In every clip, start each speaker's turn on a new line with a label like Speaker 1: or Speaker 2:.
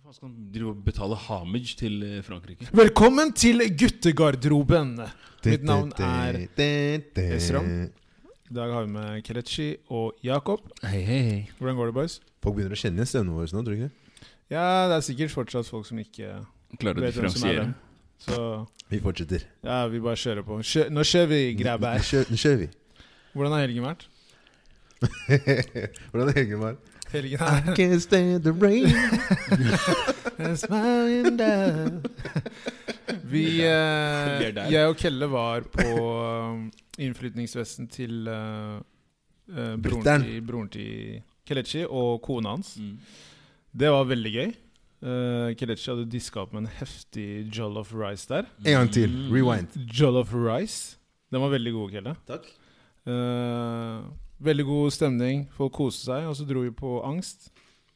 Speaker 1: faen skal han drive og betale homage til eh, Frankrike?
Speaker 2: Velkommen til guttegarderoben! Mitt navn er Esram. I dag har vi med Kelechi og Jakob.
Speaker 1: Hei, hei, hei.
Speaker 2: Hvordan går det, boys?
Speaker 3: Folk begynner å kjenne stemmene våre nå, tror du ikke det?
Speaker 2: Ja, det er sikkert fortsatt folk som ikke
Speaker 1: Klarer å
Speaker 2: vet hvem som er
Speaker 1: differensiere.
Speaker 2: hvem. Så
Speaker 3: Vi fortsetter.
Speaker 2: ja, vi bare kjører på. Kjø Nå kjører vi,
Speaker 3: Nå
Speaker 2: grabber.
Speaker 3: kjø- Nå kjører vi.
Speaker 2: Hvordan har helgen vært?
Speaker 3: Hvordan er helgen var?
Speaker 2: Helgen
Speaker 3: I
Speaker 2: er
Speaker 3: can't stand the rain.
Speaker 2: It's my window. Vi,
Speaker 1: Vi
Speaker 2: eh,
Speaker 1: er der.
Speaker 2: jeg og Kelle var på eh, innflytningsfesten til eh, eh, broren,
Speaker 3: Brytteren.
Speaker 2: til, broren til Kelechi og kona hans.
Speaker 1: Mm.
Speaker 2: Det var veldig gøy. Eh, Kelechi hadde diska opp med en heftig jollof rice der.
Speaker 3: En gang til.
Speaker 1: Mm.
Speaker 3: Rewind.
Speaker 2: Jollof rice. Den var veldig god, Kelle.
Speaker 3: Takk.
Speaker 2: Eh, veldig god stemning. Folk koste seg. Og så dro vi på Angst.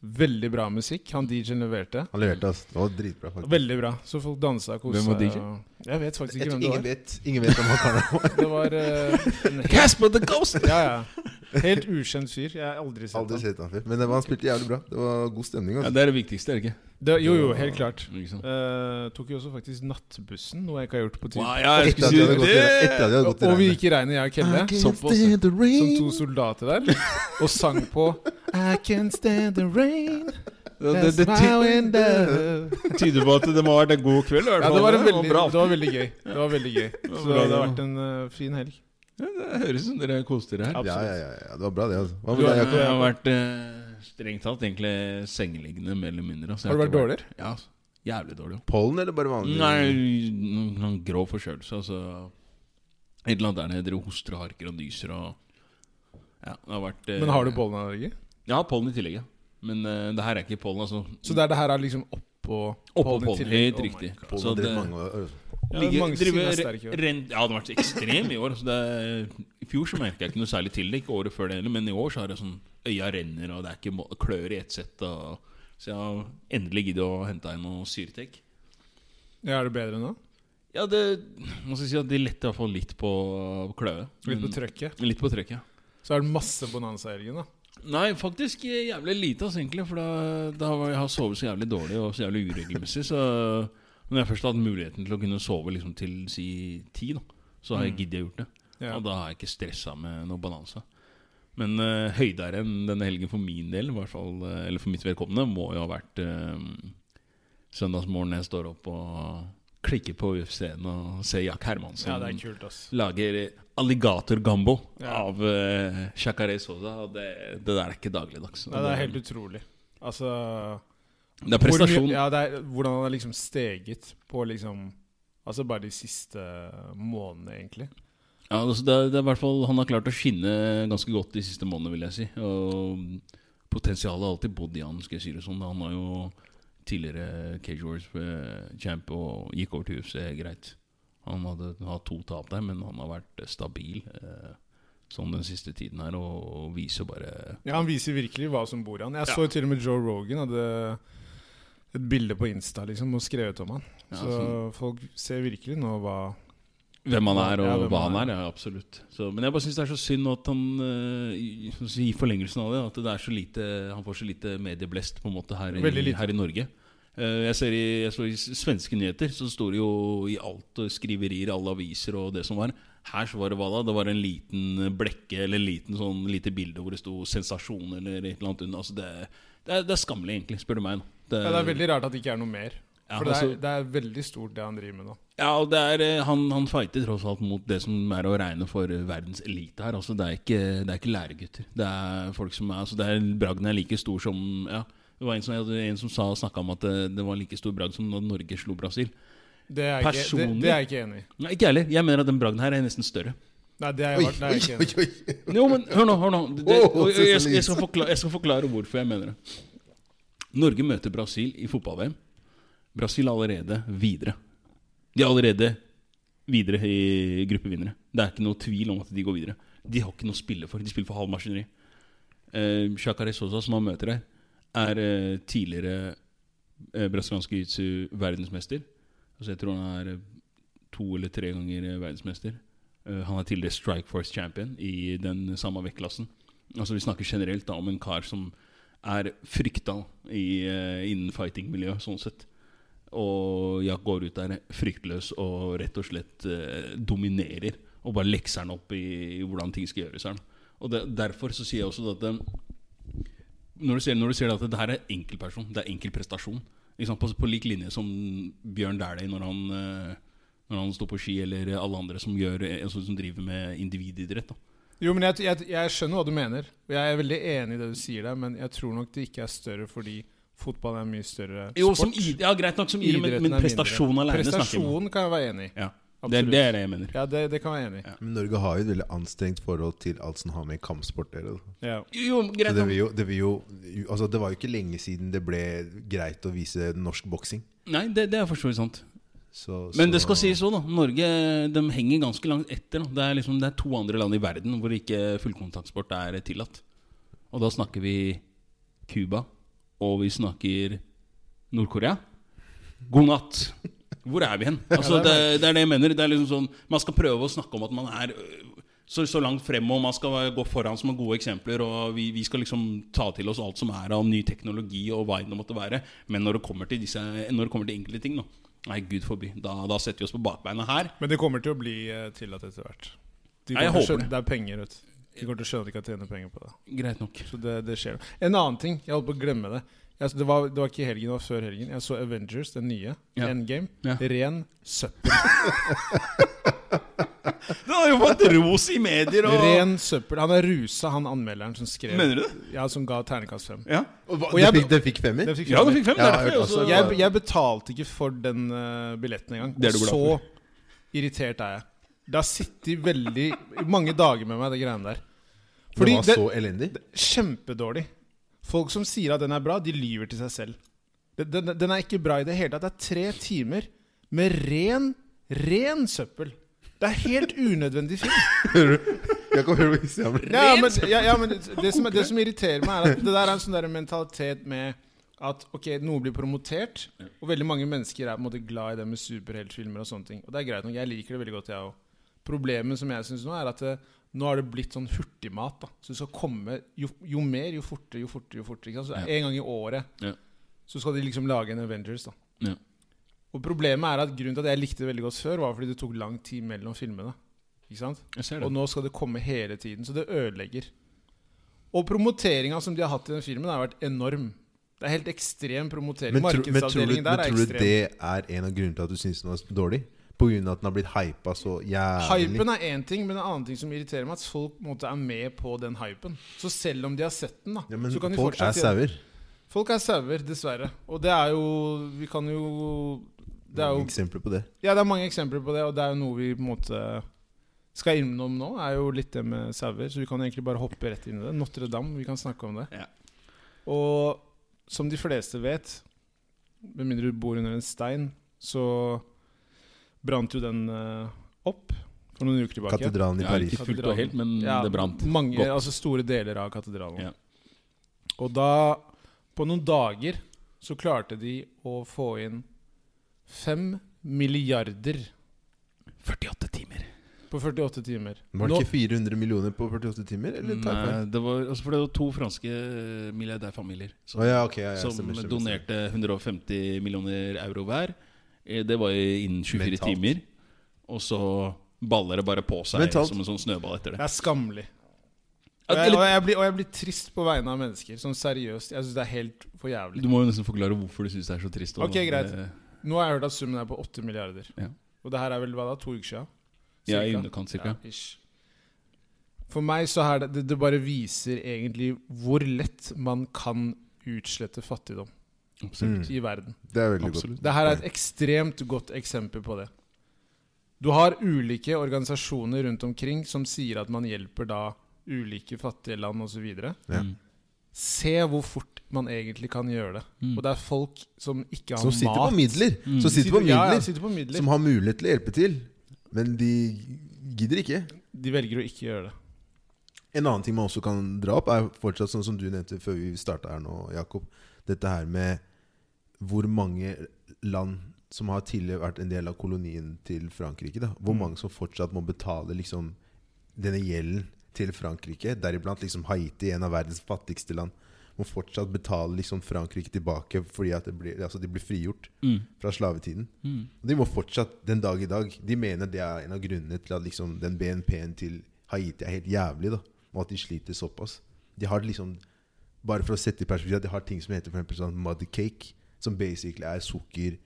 Speaker 2: Veldig bra musikk. Han DJ-en leverte.
Speaker 3: Han leverte, ass. Det var dritbra, faktisk.
Speaker 2: Veldig bra. Så folk dansa og koste
Speaker 1: Hvem var
Speaker 2: seg,
Speaker 1: DJ?
Speaker 2: og- Jeg vet faktisk
Speaker 3: Jeg
Speaker 2: ikke
Speaker 3: tror
Speaker 2: hvem det
Speaker 3: ingen
Speaker 2: var.
Speaker 3: vet, ingen vet om han kan det.
Speaker 2: Det var eh, en helt,
Speaker 1: Casper the Ghost!
Speaker 2: ja, ja. helt ukjent fyr. Jeg har aldri sett
Speaker 3: Aldri
Speaker 2: ham.
Speaker 3: sett han før. Men det var, han spilte jævlig bra. Det var god stemning.
Speaker 1: Ja,
Speaker 3: Altså.
Speaker 1: det er det viktigste, er det ikke?
Speaker 2: Det- Jo, jo, helt klart.
Speaker 1: Ikke sant?
Speaker 2: Eh, tok jo også faktisk nattbussen, noe jeg ikke har gjort på tid.
Speaker 1: Wow, ja, jeg
Speaker 3: Etter
Speaker 1: skulle
Speaker 3: at
Speaker 1: si
Speaker 3: de hadde gått i,
Speaker 1: det!
Speaker 3: etter at de hadde gått i
Speaker 2: Og vi
Speaker 3: regnet.
Speaker 2: gikk i regnet, jeg og Kelle,
Speaker 1: Såpass,
Speaker 3: the
Speaker 2: som to soldater der, og sang på I can stand the rain
Speaker 1: Det, det,
Speaker 2: that's
Speaker 1: det,
Speaker 2: my window.
Speaker 1: ty- tyder på at det må ha vært en god kveld. i hvert
Speaker 2: Ja,
Speaker 1: fall.
Speaker 2: det var, en
Speaker 1: var
Speaker 2: veldig,
Speaker 1: bra.
Speaker 2: det var veldig gøy. Det var veldig gøy.
Speaker 1: var
Speaker 2: Så
Speaker 1: bra,
Speaker 2: det har
Speaker 1: det
Speaker 2: vært en eh, fin helg.
Speaker 1: Ja, det høres ut som dere koste dere her.
Speaker 3: Ja, ja, ja, ja. Det var bra, det. altså. Hva
Speaker 2: Du
Speaker 3: med
Speaker 2: er-
Speaker 3: deg,
Speaker 1: Jeg
Speaker 3: Jakob?
Speaker 1: har vært eh, strengt talt egentlig sengeliggende mer eller mindre. altså. Jeg
Speaker 2: Har du vært
Speaker 1: ikke
Speaker 2: dårligere?
Speaker 1: Ja, altså. jævlig dårlig.
Speaker 3: Pollen eller bare vanlig?
Speaker 1: Nei, noen, noen grå forkjølelse, altså. Et eller annet der nede. Dere hoster og harker og nyser og Ja, det har vært eh,
Speaker 2: Men har du bollenallergi?
Speaker 1: Jeg har pollen i tillegg, ja. Men eh, det her er ikke pollen, altså.
Speaker 2: Så det, er det her er liksom oppå
Speaker 1: Oppå pollen.
Speaker 2: til-
Speaker 1: Helt
Speaker 2: Oh my
Speaker 1: riktig.
Speaker 2: God.
Speaker 3: Pollen
Speaker 1: Så
Speaker 3: dreper
Speaker 1: det-
Speaker 3: mange år.
Speaker 2: Ja,
Speaker 1: Ligge-
Speaker 2: mange
Speaker 1: drive-
Speaker 2: sier er sterke i år.
Speaker 1: ren- Ja, det har vært ekstrem i år. Så det er, I fjor så merka jeg ikke noe særlig til det, ikke året før det heller, men i år så er det sånn Øya renner, og det er ikke må- klør i ett sett. Og, så jeg har endelig giddet å hente inn noe Syrtec.
Speaker 2: Ja, er det bedre nå?
Speaker 1: Ja, det må jeg si at de letter i hvert fall litt på kløe.
Speaker 2: Litt på
Speaker 1: men-
Speaker 2: trøkket.
Speaker 1: Litt på trøkket. ja.
Speaker 2: Så er det masse bonanza i helgen, da.
Speaker 1: Nei, faktisk eh, jævlig lite, altså, egentlig. For da, da har jeg har sovet så jævlig dårlig og så jævlig uregelmessig. Så når jeg først har hatt muligheten til å kunne sove liksom, til si ti, da, så har jeg
Speaker 2: Mm.
Speaker 1: giddet å gjort det.
Speaker 2: Ja.
Speaker 1: Og da har jeg ikke stressa med noe balanse. Men eh, høydere enn denne helgen for min del, i hvert fall, eh, eller for mitt vedkommende, må jo ha vært eh, søndagsmorgen jeg står opp og klikker på UFC-en og ser Jack Hermansen
Speaker 2: ja, det er kult, ass.
Speaker 1: lager alligatorgambo
Speaker 2: Ja.
Speaker 1: av uh, Shakare Sosa. Og det, det der er ikke dagligdags.
Speaker 2: Nei, det er helt utrolig. Altså
Speaker 1: det er
Speaker 2: hvor mye-
Speaker 1: prestasjon.
Speaker 2: ja, det er, Hvordan han har liksom steget på liksom Altså bare de siste månedene, egentlig.
Speaker 1: Ja, altså det, er- det er i hvert fall Han har klart å skinne ganske godt de siste månedene, vil jeg si. Og potensialet har alltid bodd i han, skal jeg si det sånn. Han var jo tidligere Cage Wars-champ og gikk over til UFC, greit. Han hadde hatt to tap der, men han har vært stabil eh, sånn den siste tiden her, og, og viser bare
Speaker 2: Ja, Han viser virkelig hva som bor i han. Jeg
Speaker 1: Ja.
Speaker 2: så til og med Joe Rogan hadde et bilde på Insta liksom og skrevet om han.
Speaker 1: Ja,
Speaker 2: Så folk ser virkelig nå hva
Speaker 1: Hvem han er og
Speaker 2: Ja, hvem
Speaker 1: hva han
Speaker 2: han
Speaker 1: er, ja, absolutt. Så, men jeg bare syns det er så synd at han eh, i, som sier, I forlengelsen av det, at det er så lite han får så lite medieblest på en måte her,
Speaker 2: Veldig
Speaker 1: i,
Speaker 2: lite.
Speaker 1: her i Norge. Eh, jeg ser i, jeg så i s- svenske nyheter, så står det jo i alt og skriverier, alle aviser og det som var. Her så var det hva da? Det var en liten eh, blekke eller en liten sånn lite bilde hvor det sto 'sensasjon' eller et eller annet under. Altså det, det, er, det er skammelig, egentlig, spør du meg. nå. Det,
Speaker 2: ja, Det er veldig rart at det ikke er noe mer.
Speaker 1: Eh. Ja,
Speaker 2: For det er,
Speaker 1: altså-
Speaker 2: det er veldig stort, det han driver med nå.
Speaker 1: Ja, og det er, eh, han, han fighter tross alt mot det som er å regne for eh, verdens elite her. Altså, det, er ikke, det er ikke læregutter. Det er folk som er altså, det er Bragden er like stor som ja, Det var en som, jeg hadde en som sa- snakket om at eh, det, det var like stor bragd som da Norge slo Brasil.
Speaker 2: Det er, jeg ikke, det,
Speaker 1: Personlig?
Speaker 2: det er jeg ikke enig i.
Speaker 1: Nei, ikke jeg heller. Jeg mener at den bragden her er nesten større.
Speaker 2: Nei, det er
Speaker 3: Oi,
Speaker 2: jeg, det er jeg ikke
Speaker 3: oi,
Speaker 2: enig i.
Speaker 3: oi.
Speaker 1: Jo, men hør nå. hør nå det, det,
Speaker 3: Åh,
Speaker 1: og jeg, jeg,
Speaker 3: Cecily.
Speaker 1: jeg, skal forklare, jeg skal forklare hvorfor jeg mener det. Norge møter Brasil i fotball-VM. Brasil er allerede videre. De er allerede videre i gruppevinnere. Det er ikke noe tvil om at de går videre. De har ikke noe å spille for. De spiller for halv maskineri. Eh, Shakare Sosa, som han møter her, er eh, tidligere eh, brasiliansk jiu-jitsu-verdensmester. Altså, jeg tror han er eh, to eller tre ganger eh, verdensmester. Eh, han er tidligere Strike Force champion i den samme vektklassen. Altså, vi snakker generelt da om en kar som er frykta i, eh, innen fighting-miljøet, sånn sett. Og jeg går ut der fryktløs og rett og slett eh, dominerer. Og bare lekser han opp i, i hvordan ting skal gjøres her. da. Og det, derfor så sier jeg også at eh, når du ser, når du ser det at det her er enkeltperson, det er enkeltprestasjon. Ikke sant? På, på lik linje som Bjørn Dæhlie når han eh, Når han står på ski, eller alle andre som, gjør, eh, som som driver med individidrett. Da.
Speaker 2: Jo, men jeg, jeg, jeg skjønner hva du mener. Og jeg er veldig enig i det du sier der, men jeg tror nok det ikke er større fordi fotball er en mye større sport.
Speaker 1: Jo, som id ja, greit nok som idrett, men,
Speaker 2: Idretten
Speaker 1: men
Speaker 2: er mindre.
Speaker 1: prestasjon alene snakker vi om.
Speaker 2: Prestasjon kan jeg være enig i.
Speaker 1: Ja, det, er- det er det jeg mener.
Speaker 2: Ja, det, det kan jeg være enig i.
Speaker 1: Ja.
Speaker 3: Men Norge har jo et veldig anstrengt forhold til alt som har med kampsport å gjøre. da.
Speaker 2: Ja.
Speaker 1: Jo,
Speaker 3: Så
Speaker 1: greit
Speaker 3: det,
Speaker 1: nok.
Speaker 3: vil jo, det, vil jo, altså det var jo ikke lenge siden det ble greit å vise norsk boksing.
Speaker 1: Nei, det, det er for så vidt sant.
Speaker 3: Så-
Speaker 1: Men
Speaker 3: så-
Speaker 1: det skal sies òg, da. Norge de henger ganske langt etter. Da. Det, er liksom, det er to andre land i verden hvor ikke fullkontaktsport er tillatt. Og da snakker vi Cuba, og vi snakker Nord-Korea. God natt! Hvor er vi hen? Altså, det, det er det jeg mener. Det er liksom sånn, man skal prøve å snakke om at man er øh, så, så langt frem, og man skal gå foran som gode eksempler. Og vi, vi skal liksom ta til oss alt som er av ny teknologi og hva enn det måtte være. Men når det kommer til, disse, når det kommer til enkelte ting, da, nei, gud forby. Da, da setter vi oss på bakbeina her.
Speaker 2: Men det kommer til å bli eh, tillatt etter hvert. De
Speaker 1: Nei, jeg håper
Speaker 2: kommer til å skjønne, det er penger, vet du. De kommer til å skjønne at de kan tjene penger på det.
Speaker 1: Greit nok.
Speaker 2: Så det, det skjer. En annen ting, jeg holdt på å glemme det. Jeg, det, var, det var ikke i helgen, det var før helgen. Jeg så Avengers, den nye.
Speaker 1: Ja.
Speaker 2: Endgame.
Speaker 1: Ja.
Speaker 2: Ren søppel.
Speaker 1: Du har jo fått ros i medier
Speaker 2: Ren søppel. Han er rusa, han anmelderen som skrev
Speaker 1: Mener du det?
Speaker 2: Ja, som ga terningkast fem.
Speaker 1: Ja,
Speaker 3: Og hva-
Speaker 2: Og jeg-
Speaker 3: det, fikk, det fikk femmer?
Speaker 2: Det fikk
Speaker 1: ja du
Speaker 2: jeg
Speaker 1: fikk fem.
Speaker 3: Ja, jeg
Speaker 1: derfor
Speaker 3: hørte også-
Speaker 1: også-
Speaker 2: jeg, jeg betalte ikke for den eh, billetten engang.
Speaker 1: Det er du glad
Speaker 2: så
Speaker 1: for.
Speaker 2: irritert er jeg. Det har sittet veldig mange dager med meg, det greiene der.
Speaker 3: det
Speaker 2: Fordi
Speaker 3: var
Speaker 2: det-
Speaker 3: så elendig?
Speaker 2: Kjempedårlig. Folk som sier at den er bra, de lyver til seg selv. Den, den, den er ikke bra i det hele tatt. Det er tre timer med ren, ren søppel. Det er helt unødvendig film.
Speaker 3: Jeg kan høre hva Christian blir-
Speaker 2: Ja, men, ja, ja, men det, det, som, det som irriterer meg, er at det der er en sånn der mentalitet med at ok, noe blir promotert, og veldig mange mennesker er på en måte glad i det med superheltfilmer og sånne ting. Og det er greit nok. Jeg liker det veldig godt, jeg òg. Problemet som jeg syns nå, er at det, nå har det blitt sånn hurtigmat. da Så det skal komme jo, jo mer, jo fortere, jo fortere. jo fortere ikke sant? Så det er En gang i året
Speaker 1: Ja.
Speaker 2: så skal de liksom lage en Avengers. da
Speaker 1: Ja.
Speaker 2: Og problemet er at grunnen til at jeg likte det veldig godt før, var fordi det tok lang tid mellom filmene. Ikke sant?
Speaker 1: Jeg ser
Speaker 2: Og nå skal det komme hele tiden, så det ødelegger. Og promoteringa som de har hatt i den filmen, har vært enorm. Det er helt ekstrem promotering.
Speaker 3: Men, tro, men, tror du,
Speaker 2: Markedsavdelingen
Speaker 3: men
Speaker 2: der er
Speaker 3: tror du
Speaker 2: ekstrem.
Speaker 3: det er en av grunnene til at du syns den var så dårlig? På grunn av at den har blitt hypa så jævlig?
Speaker 2: Hypen er én ting, men en annen ting som irriterer meg, er at folk på en måte er med på den hypen. Så selv om de har sett den, da,
Speaker 3: Ja, men
Speaker 2: så kan de
Speaker 3: folk er
Speaker 2: fortsatt tjene-
Speaker 3: sauer.
Speaker 2: Folk er sauer, dessverre. Og det er jo Vi kan jo Det er jo
Speaker 3: Eksempler på det.
Speaker 2: Ja, det er mange eksempler på det, og det er jo noe vi på en måte skal innom nå, er jo litt det med sauer. Så vi kan egentlig bare hoppe rett inn i det. Notre-Dame, vi kan snakke om det.
Speaker 1: Ja.
Speaker 2: Og som de fleste vet, med mindre du bor under en stein, så brant jo den eh, opp for noen uker tilbake.
Speaker 3: Katedralen i
Speaker 1: Ja,
Speaker 3: Paris.
Speaker 1: ikke fullt og helt, men
Speaker 2: Ja,
Speaker 1: det brant.
Speaker 2: Mange,
Speaker 1: Godt.
Speaker 2: altså store deler av katedralen.
Speaker 1: Ja.
Speaker 2: Og da, på noen dager, så klarte de å få inn fem milliarder
Speaker 1: 48 timer.
Speaker 2: på 48 timer.
Speaker 3: Var
Speaker 2: Nå-
Speaker 3: det ikke 400 millioner på 48 timer? Eller tar jeg feil?
Speaker 1: Nei, det var, altså for det var to franske eh, milliardærfamilier som,
Speaker 3: Å ja, ok, ja, ja,
Speaker 1: som
Speaker 3: stemmer, stemmer,
Speaker 1: donerte 150 millioner euro hver. Eh, Det var i- innen 24
Speaker 3: Mentalt.
Speaker 1: timer. Og så baller det bare på seg
Speaker 3: Mentalt.
Speaker 1: som en sånn snøball etter
Speaker 2: Det
Speaker 1: det.
Speaker 2: er skamlig.
Speaker 1: Ja,
Speaker 2: Og jeg, og,
Speaker 1: eller,
Speaker 2: jeg blir, og jeg blir trist på vegne av mennesker. Sånn seriøst. Jeg syns det er helt for jævlig.
Speaker 1: du må jo nesten forklare hvorfor du syns det er så trist. og-
Speaker 2: Ok, greit.
Speaker 1: eh,
Speaker 2: Nå har jeg hørt at summen er på 8 milliarder.
Speaker 1: Ja.
Speaker 2: Og det her er vel hva da? To uker siden?
Speaker 1: Ja, i
Speaker 2: Cirka?
Speaker 1: underkant cirka.
Speaker 2: Ja, ish. For meg så er det, det Det bare viser egentlig hvor lett man kan utslette fattigdom
Speaker 1: Absolutt.
Speaker 3: Mm.
Speaker 2: i verden.
Speaker 3: Det er veldig
Speaker 1: Absolutt.
Speaker 2: Det her er et ekstremt godt eksempel på det. Du har ulike organisasjoner rundt omkring som sier at man hjelper da ulike fattige land osv.
Speaker 3: Ja.
Speaker 1: Mm.
Speaker 2: Se hvor fort man egentlig kan gjøre det.
Speaker 1: Mm.
Speaker 2: Og det er folk som ikke
Speaker 3: godt.
Speaker 2: har
Speaker 3: Som sitter
Speaker 2: mat.
Speaker 3: på midler! Som sitter
Speaker 2: ja,
Speaker 3: på
Speaker 2: ja,
Speaker 3: midler
Speaker 2: sitter på midler.
Speaker 3: Som har mulighet til å hjelpe til. Men de gidder ikke.
Speaker 2: De velger å ikke gjøre det.
Speaker 3: En annen ting man også kan dra opp, er fortsatt sånn som du nevnte før vi starta her nå, Jakob. Dette her med hvor mange land som har tidligere vært en del av kolonien til Frankrike. Da.
Speaker 2: Mm.
Speaker 3: Hvor mange som fortsatt må betale liksom, denne gjelden til Frankrike. Deriblant liksom Haiti, en av verdens fattigste land. må fortsatt betale liksom Frankrike tilbake fordi at det blir, altså de blir frigjort
Speaker 1: Mm.
Speaker 3: fra slavetiden.
Speaker 1: Mm.
Speaker 3: Og de må fortsatt, den dag i dag De mener det er en av grunnene til at liksom den BNP-en til Haiti er helt jævlig. da Og at de sliter såpass. De har liksom Bare for å sette i perspektiv De har ting som heter for eksempel sånn mud cake, som basically er sukker,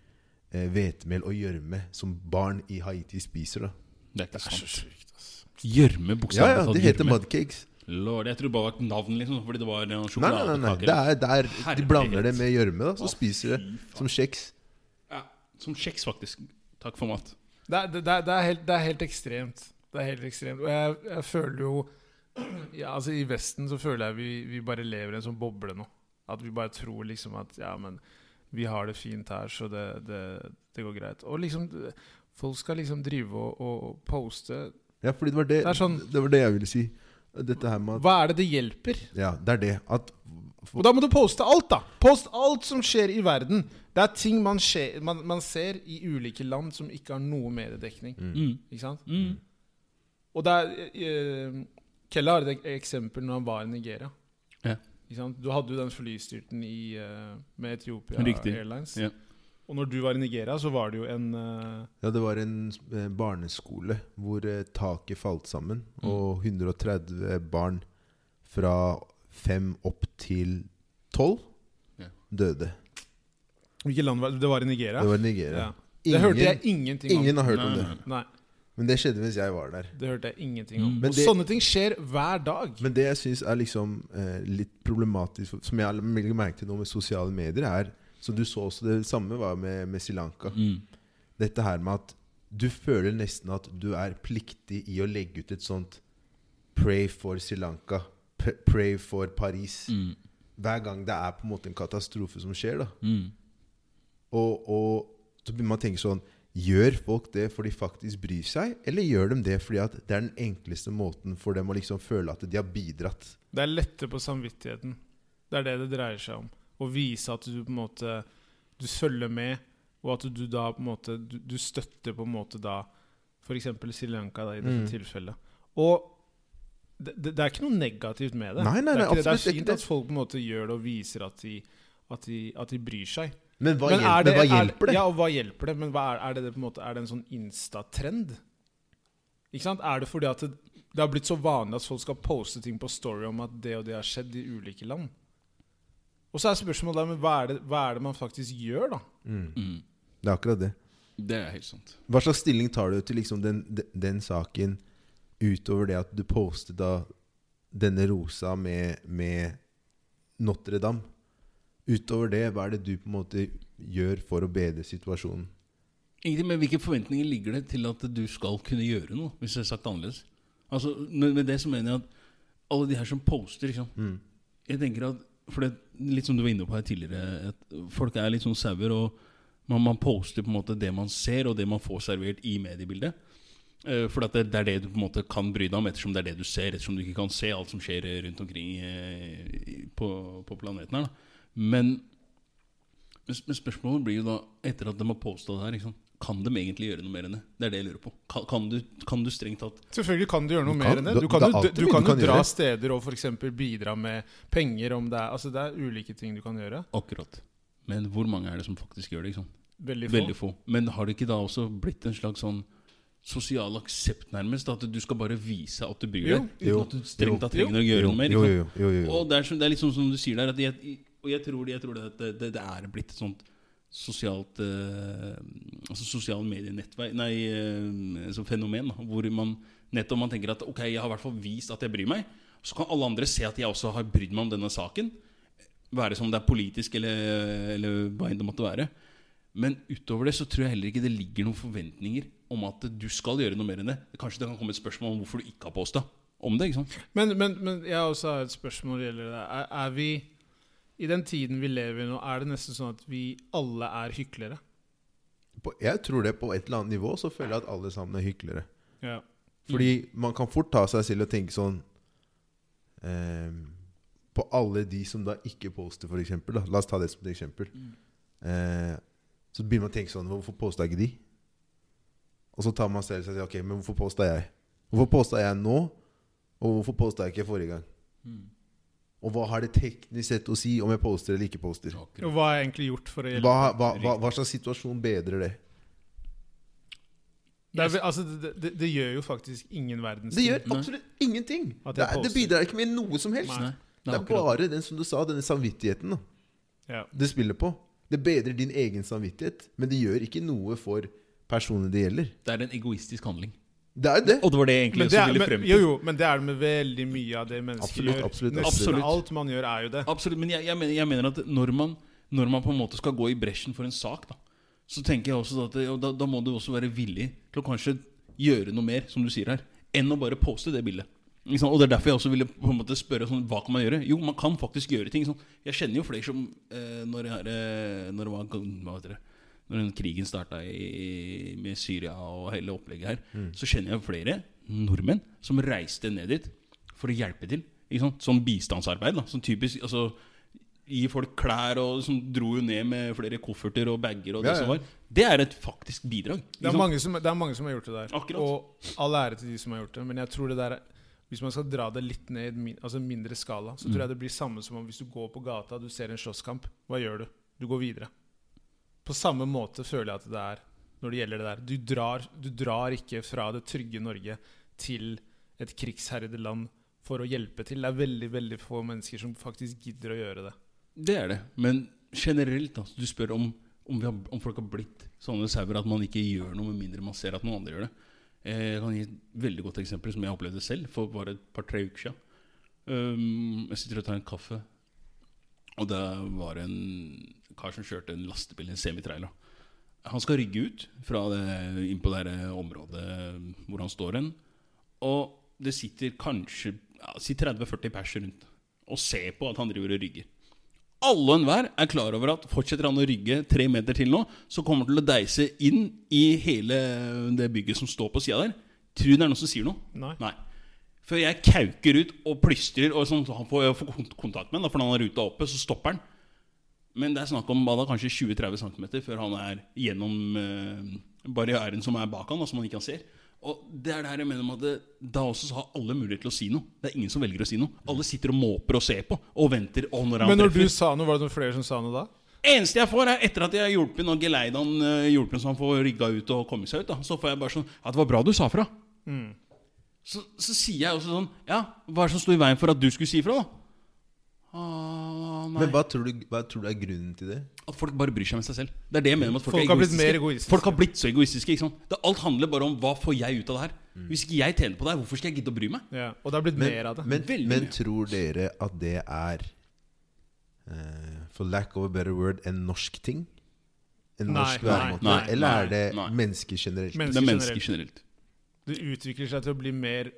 Speaker 3: eh, hvetemel og gjørme som barn i Haiti spiser. da
Speaker 1: Det er ikke
Speaker 2: Det er så
Speaker 1: sant.
Speaker 2: sjukt, ass.
Speaker 1: Gjørme,
Speaker 3: Ja,
Speaker 1: bokstavelig
Speaker 3: ja, det heter mud cakes.
Speaker 1: Lord, jeg tror bare det var navn, liksom, fordi det var noen
Speaker 3: Nei, nei, nei, nei. Det
Speaker 1: sjokoladekaker.
Speaker 3: er, det er, de blander
Speaker 1: Herlighet.
Speaker 3: det med gjørme, da, så
Speaker 1: Å,
Speaker 3: spiser det
Speaker 1: fy faen.
Speaker 3: som kjeks.
Speaker 1: Ja, som kjeks, faktisk. Takk for mat.
Speaker 2: Det er, det, det, er, det, er helt, det er helt ekstremt. Det er helt ekstremt. Og jeg, jeg føler jo ja, altså I Vesten så føler jeg vi, vi bare lever i en sånn boble nå. At vi bare tror liksom at ja, men vi har det fint her, så det, det, det går greit. Og liksom det- Folk skal liksom drive og, og poste.
Speaker 3: Ja, fordi det var det,
Speaker 2: Det er sånn-
Speaker 3: det var det jeg ville si. Dette her med at
Speaker 2: Hva er det det hjelper?
Speaker 3: Ja, det er det. At
Speaker 2: Og da må du poste alt, da! Post alt som skjer i verden. Det er ting man, skje- man, man ser i ulike land som ikke har noe mediedekning.
Speaker 1: Mm.
Speaker 2: Ikke sant?
Speaker 1: Mm.
Speaker 2: Og det er uh, Kella har et ek- eksempel når han var i Nigeria.
Speaker 1: Ja.
Speaker 2: Ikke sant? Du hadde jo den flystyrten i, eh, med Etiopia
Speaker 1: Riktig.
Speaker 2: Airlines.
Speaker 1: Ja.
Speaker 2: Og når du var i Nigeria, så var det jo en eh,
Speaker 3: Ja, det var en eh, barneskole hvor eh, taket falt sammen,
Speaker 2: Mm.
Speaker 3: og 130 barn fra fem opp til tolv
Speaker 1: Ja.
Speaker 3: døde.
Speaker 2: Hvilket land var det? Det var i Nigeria?
Speaker 3: Det var
Speaker 2: ja.
Speaker 3: Nigeria.
Speaker 2: det
Speaker 3: Ingen-
Speaker 2: hørte jeg ingenting om.
Speaker 3: Ingen har hørt
Speaker 1: Nei,
Speaker 3: om det.
Speaker 1: nei, nei.
Speaker 2: Nei,
Speaker 3: Men det skjedde mens jeg var der.
Speaker 2: det hørte jeg ingenting om.
Speaker 1: Mm.
Speaker 3: Men
Speaker 2: Og
Speaker 3: det-
Speaker 2: sånne ting skjer hver dag.
Speaker 3: Men det jeg syns er liksom eh, litt problematisk, som jeg legger merke til nå med sosiale medier, er Så du så også det samme var med, med Sri Lanka.
Speaker 1: Mm.
Speaker 3: Dette her med at du føler nesten at du er pliktig i å legge ut et sånt Pray for Sri Lanka. p- Pray for Paris.
Speaker 1: Mm.
Speaker 3: Hver gang det er på en måte en katastrofe som skjer. da
Speaker 1: Mm.
Speaker 3: Og, og så begynner man å tenke sånn Gjør folk det fordi de faktisk bryr seg, eller gjør de det fordi at det er den enkleste måten for dem å liksom føle at de har bidratt?
Speaker 2: Det er lette på samvittigheten. Det er det det dreier seg om. Å vise at du på en måte Du følger med, og at du da på en måte Du, du støtter på en måte da f.eks. Sri Lanka da, i dette
Speaker 3: Mm.
Speaker 2: tilfellet. Og det, det, det er ikke noe negativt med det.
Speaker 3: Nei, nei,
Speaker 2: det, er
Speaker 3: nei,
Speaker 2: ikke det. det
Speaker 3: absolutt
Speaker 2: er
Speaker 3: ikke
Speaker 2: fint
Speaker 3: det.
Speaker 2: at folk på en måte gjør det og viser at de, at de, at de bryr seg.
Speaker 3: Men hva,
Speaker 2: Men
Speaker 3: hjelper,
Speaker 2: er det-
Speaker 3: hva
Speaker 2: er-
Speaker 3: hjelper det?
Speaker 2: Ja, og hva hjelper det? Men hva er, er, det, det på en måte, er det en sånn Insta-trend? Ikke sant? Er det fordi at det, det har blitt så vanlig at folk skal poste ting på story om at det og det har skjedd i ulike land? Og så er spørsmålet da, men hva er, det, hva er det man faktisk gjør, da?
Speaker 3: Mm.
Speaker 1: Mm.
Speaker 3: Det er akkurat det.
Speaker 1: Det er helt sant.
Speaker 3: Hva slags stilling tar du til liksom den, den, den saken utover det at du postet da denne rosa med, med Notre-Dame? Utover det, hva er det du på en måte gjør for å bedre situasjonen?
Speaker 1: Egentlig, men Hvilke forventninger ligger det til at du skal kunne gjøre noe? Hvis det er sagt annerledes Altså, men Med det så mener jeg at alle de her som poster liksom, Jeg tenker at for det, Litt som du var inne på her tidligere, at folk er litt sånn sauer. og man, man poster på en måte det man ser, og det man får servert i mediebildet. Eh, for at det, det er det du på en måte kan bry deg om, ettersom det er det du ser. Ettersom du ikke kan se alt som skjer eh, rundt omkring eh, i- på, på planeten her. Da. Men men sp- men spørsmålet blir jo da, etter at de har påstått det her, ikke sant? kan de egentlig gjøre noe mer enn det? Det er det jeg lurer på. Kan, kan, du, kan du strengt tatt
Speaker 2: Selvfølgelig kan du gjøre noe
Speaker 3: Du
Speaker 2: mer
Speaker 3: kan-
Speaker 2: enn det. Du
Speaker 3: det-
Speaker 2: kan,
Speaker 3: det er
Speaker 2: jo-
Speaker 3: alltid
Speaker 2: du,
Speaker 3: mye
Speaker 2: kan
Speaker 3: du
Speaker 2: jo
Speaker 3: kan
Speaker 2: dra
Speaker 3: gjøre.
Speaker 2: steder og f.eks. bidra med penger om det er Altså det er ulike ting du kan gjøre.
Speaker 1: Akkurat. Men hvor mange er det som faktisk gjør det? ikke sant?
Speaker 2: Veldig få.
Speaker 1: Veldig få. Men har det ikke da også blitt en slags sånn sosial aksept, nærmest? At du skal bare vise at du bryr
Speaker 2: Jo,
Speaker 1: deg?
Speaker 3: jo,
Speaker 1: Uten at du strengt tatt
Speaker 2: jo,
Speaker 1: trenger å gjøre noe mer?
Speaker 3: Jo,
Speaker 1: ikke sant?
Speaker 3: jo, jo, jo, jo.
Speaker 1: Og det er, så, det er litt sånn som du sier der at jeg, Og jeg tror, det- jeg tror det, at det, det, det er blitt et sånt sosialt eh, Altså sosial medienettverk Nei, eh, sånn fenomen da, hvor man nettopp man tenker at ok, jeg har i hvert fall vist at jeg bryr meg. Så kan alle andre se at jeg også har brydd meg om denne saken. Være som det er politisk, eller, eller hva enn det måtte være. Men utover det så tror jeg heller ikke det ligger noen forventninger om at du skal gjøre noe mer enn det. Kanskje det kan komme et spørsmål om hvorfor du ikke har posta om det. ikke sant?
Speaker 2: Men, men, men jeg har også et spørsmål når det gjelder det. Er, er vi I den tiden vi lever i nå, er det nesten sånn at vi alle er hyklere?
Speaker 3: På, jeg tror det på et eller annet nivå så føler jeg at alle sammen er hyklere.
Speaker 2: Ja.
Speaker 3: Fordi
Speaker 2: Mm.
Speaker 3: man kan fort ta seg selv og tenke sånn ehm, På alle de som da ikke poster, for eksempel. Da. La oss ta det som et eksempel.
Speaker 2: Mm.
Speaker 3: Eh, så begynner man å tenke sånn Hvorfor posta ikke de? Og så tar man selv seg og sier Ok, men hvorfor
Speaker 2: Mm.
Speaker 3: posta jeg? Hvorfor posta jeg nå? Og hvorfor posta jeg ikke forrige gang? Og hva har det teknisk sett å si om jeg poster eller ikke poster?
Speaker 2: Og hva har jeg egentlig gjort for å hjelpe?
Speaker 3: Hva, hva, hva, hva slags situasjon bedrer det?
Speaker 2: Det, er, vel- altså, det, det, det gjør jo faktisk ingen verdens
Speaker 3: Det
Speaker 2: ting.
Speaker 3: gjør absolutt ingenting!
Speaker 2: At
Speaker 3: Det,
Speaker 2: jeg
Speaker 3: er, det
Speaker 2: poster.
Speaker 3: bidrar ikke med noe som helst.
Speaker 1: Nei,
Speaker 3: Det er
Speaker 1: akkurat-
Speaker 3: bare den som du sa, denne samvittigheten da,
Speaker 2: Ja.
Speaker 3: det spiller på. Det bedrer din egen samvittighet, men det gjør ikke noe for personene det gjelder.
Speaker 1: det er en egoistisk handling.
Speaker 3: Det er jo det.
Speaker 1: Og det var det jeg egentlig
Speaker 2: Men det
Speaker 1: også
Speaker 2: er,
Speaker 1: ville
Speaker 2: men,
Speaker 1: frem til.
Speaker 2: jo, jo, men det er det med veldig mye av det mennesker
Speaker 3: Absolutt,
Speaker 2: gjør.
Speaker 3: absolutt,
Speaker 2: Nesten
Speaker 1: absolutt.
Speaker 2: alt man gjør, er jo det.
Speaker 1: Absolutt, men jeg, jeg, mener, jeg mener at når man, når man på en måte skal gå i bresjen for en sak, da, så tenker jeg også at ja, da, da må du også være villig til å kanskje gjøre noe mer, som du sier her, enn å bare poste det bildet. Ikke sant? Og det er derfor jeg også ville på en måte spørre sånn, hva kan man gjøre. Jo, man kan faktisk gjøre ting. Sånn. Jeg kjenner jo flere som eh, når, jeg, eh, når, det var, hva heter det, når den krigen starta med Syria og hele opplegget her,
Speaker 3: Mm.
Speaker 1: så kjenner jeg flere nordmenn som reiste ned dit for å hjelpe til. Ikke sant? Som bistandsarbeid. Da. Som typisk, altså, Gi folk klær, og som dro jo ned med flere kofferter og bager. Og det,
Speaker 3: Ja, ja.
Speaker 1: Som var. det er et faktisk bidrag. ikke
Speaker 2: Det er,
Speaker 1: sant?
Speaker 2: mange som, det er mange som har gjort det der.
Speaker 1: Akkurat.
Speaker 2: Og all ære til de som har gjort det. Men jeg tror det der er- hvis man skal dra det litt ned i en min- altså en mindre skala, så
Speaker 1: Mm.
Speaker 2: tror jeg det blir samme som om hvis du går på gata du ser en slåsskamp. Hva gjør du? Du går videre. På samme måte føler jeg at det er når det gjelder det der. Du drar, du drar ikke fra det trygge Norge til et krigsherjede land for å hjelpe til. Det er veldig veldig få mennesker som faktisk gidder å gjøre det.
Speaker 1: Det er det. Men generelt, da, du spør om, om, vi har, om folk har blitt sånne sauer at man ikke gjør noe med mindre man ser at noen andre gjør det. Eh, Jeg kan gi et veldig godt eksempel som jeg opplevde selv for bare et par-tre uker siden. Um, jeg sitter og tar en kaffe, og det var en kar som kjørte en lastebil, en semitrailer. Han skal rygge ut fra det, inn på det her området hvor han står hen. Og det sitter kanskje ja, si 30-40 pers rundt og ser på at han driver og rygger. Alle og enhver er klar over at fortsetter han å rygge tre meter til nå, så kommer han til å deise inn i hele det bygget som står på sida der. Tror du det er noen som sier noe?
Speaker 2: Nei.
Speaker 1: Før jeg kauker ut og plystrer, og sånn, så han får, får kont- kontakt med han, da, for når han har ruta oppe, så stopper han. Men det er snakk om hva da, kanskje 20-30 cm før han er gjennom eh, barrieren som er bak han, da, som han ikke ser. Og det er det her jeg mener med at det, da også så har alle mulighet til å si noe. Det er ingen som velger å si noe. Alle sitter og måper og ser på, og venter. Og når han
Speaker 2: Men når
Speaker 1: treffer.
Speaker 2: du sa noe, var det noen flere som sa noe da?
Speaker 1: Eneste jeg får, er etter at jeg har hjulpet han og geleid han, eh, hjulpet han så han får rygga ut og kommet seg ut, da, så får jeg bare sånn Ja, det var bra du sa fra.
Speaker 2: Mm.
Speaker 1: Så, så sier jeg også sånn Ja, hva er det som sto i veien for at du skulle si fra, da? Ah, nei.
Speaker 3: Men hva tror, du, hva tror du er grunnen til det?
Speaker 1: At folk bare bryr seg med seg selv. Det er det jeg mener med at folk,
Speaker 2: Folk
Speaker 1: er
Speaker 2: har blitt
Speaker 1: egoistiske.
Speaker 2: mer egoistiske.
Speaker 1: Folk har blitt så egoistiske. ikke sant? Det, alt handler bare om hva får jeg ut av det her.
Speaker 2: Mm.
Speaker 1: Hvis ikke jeg tjener på det her, hvorfor skal jeg gidde å bry meg?
Speaker 2: Ja, og det har blitt
Speaker 3: Men,
Speaker 2: mer av det.
Speaker 3: men,
Speaker 1: Veldig
Speaker 3: men
Speaker 1: mye.
Speaker 3: tror dere at det er eh, For lack of a better word en norsk ting? En
Speaker 2: Nei,
Speaker 3: norsk
Speaker 2: nei,
Speaker 3: væremåte?
Speaker 1: nei,
Speaker 3: Eller er det
Speaker 1: nei, nei.
Speaker 3: mennesker generelt?
Speaker 2: Men-
Speaker 1: Det er
Speaker 2: Mennesker
Speaker 1: mennesker generelt.
Speaker 2: Det utvikler seg til å bli mer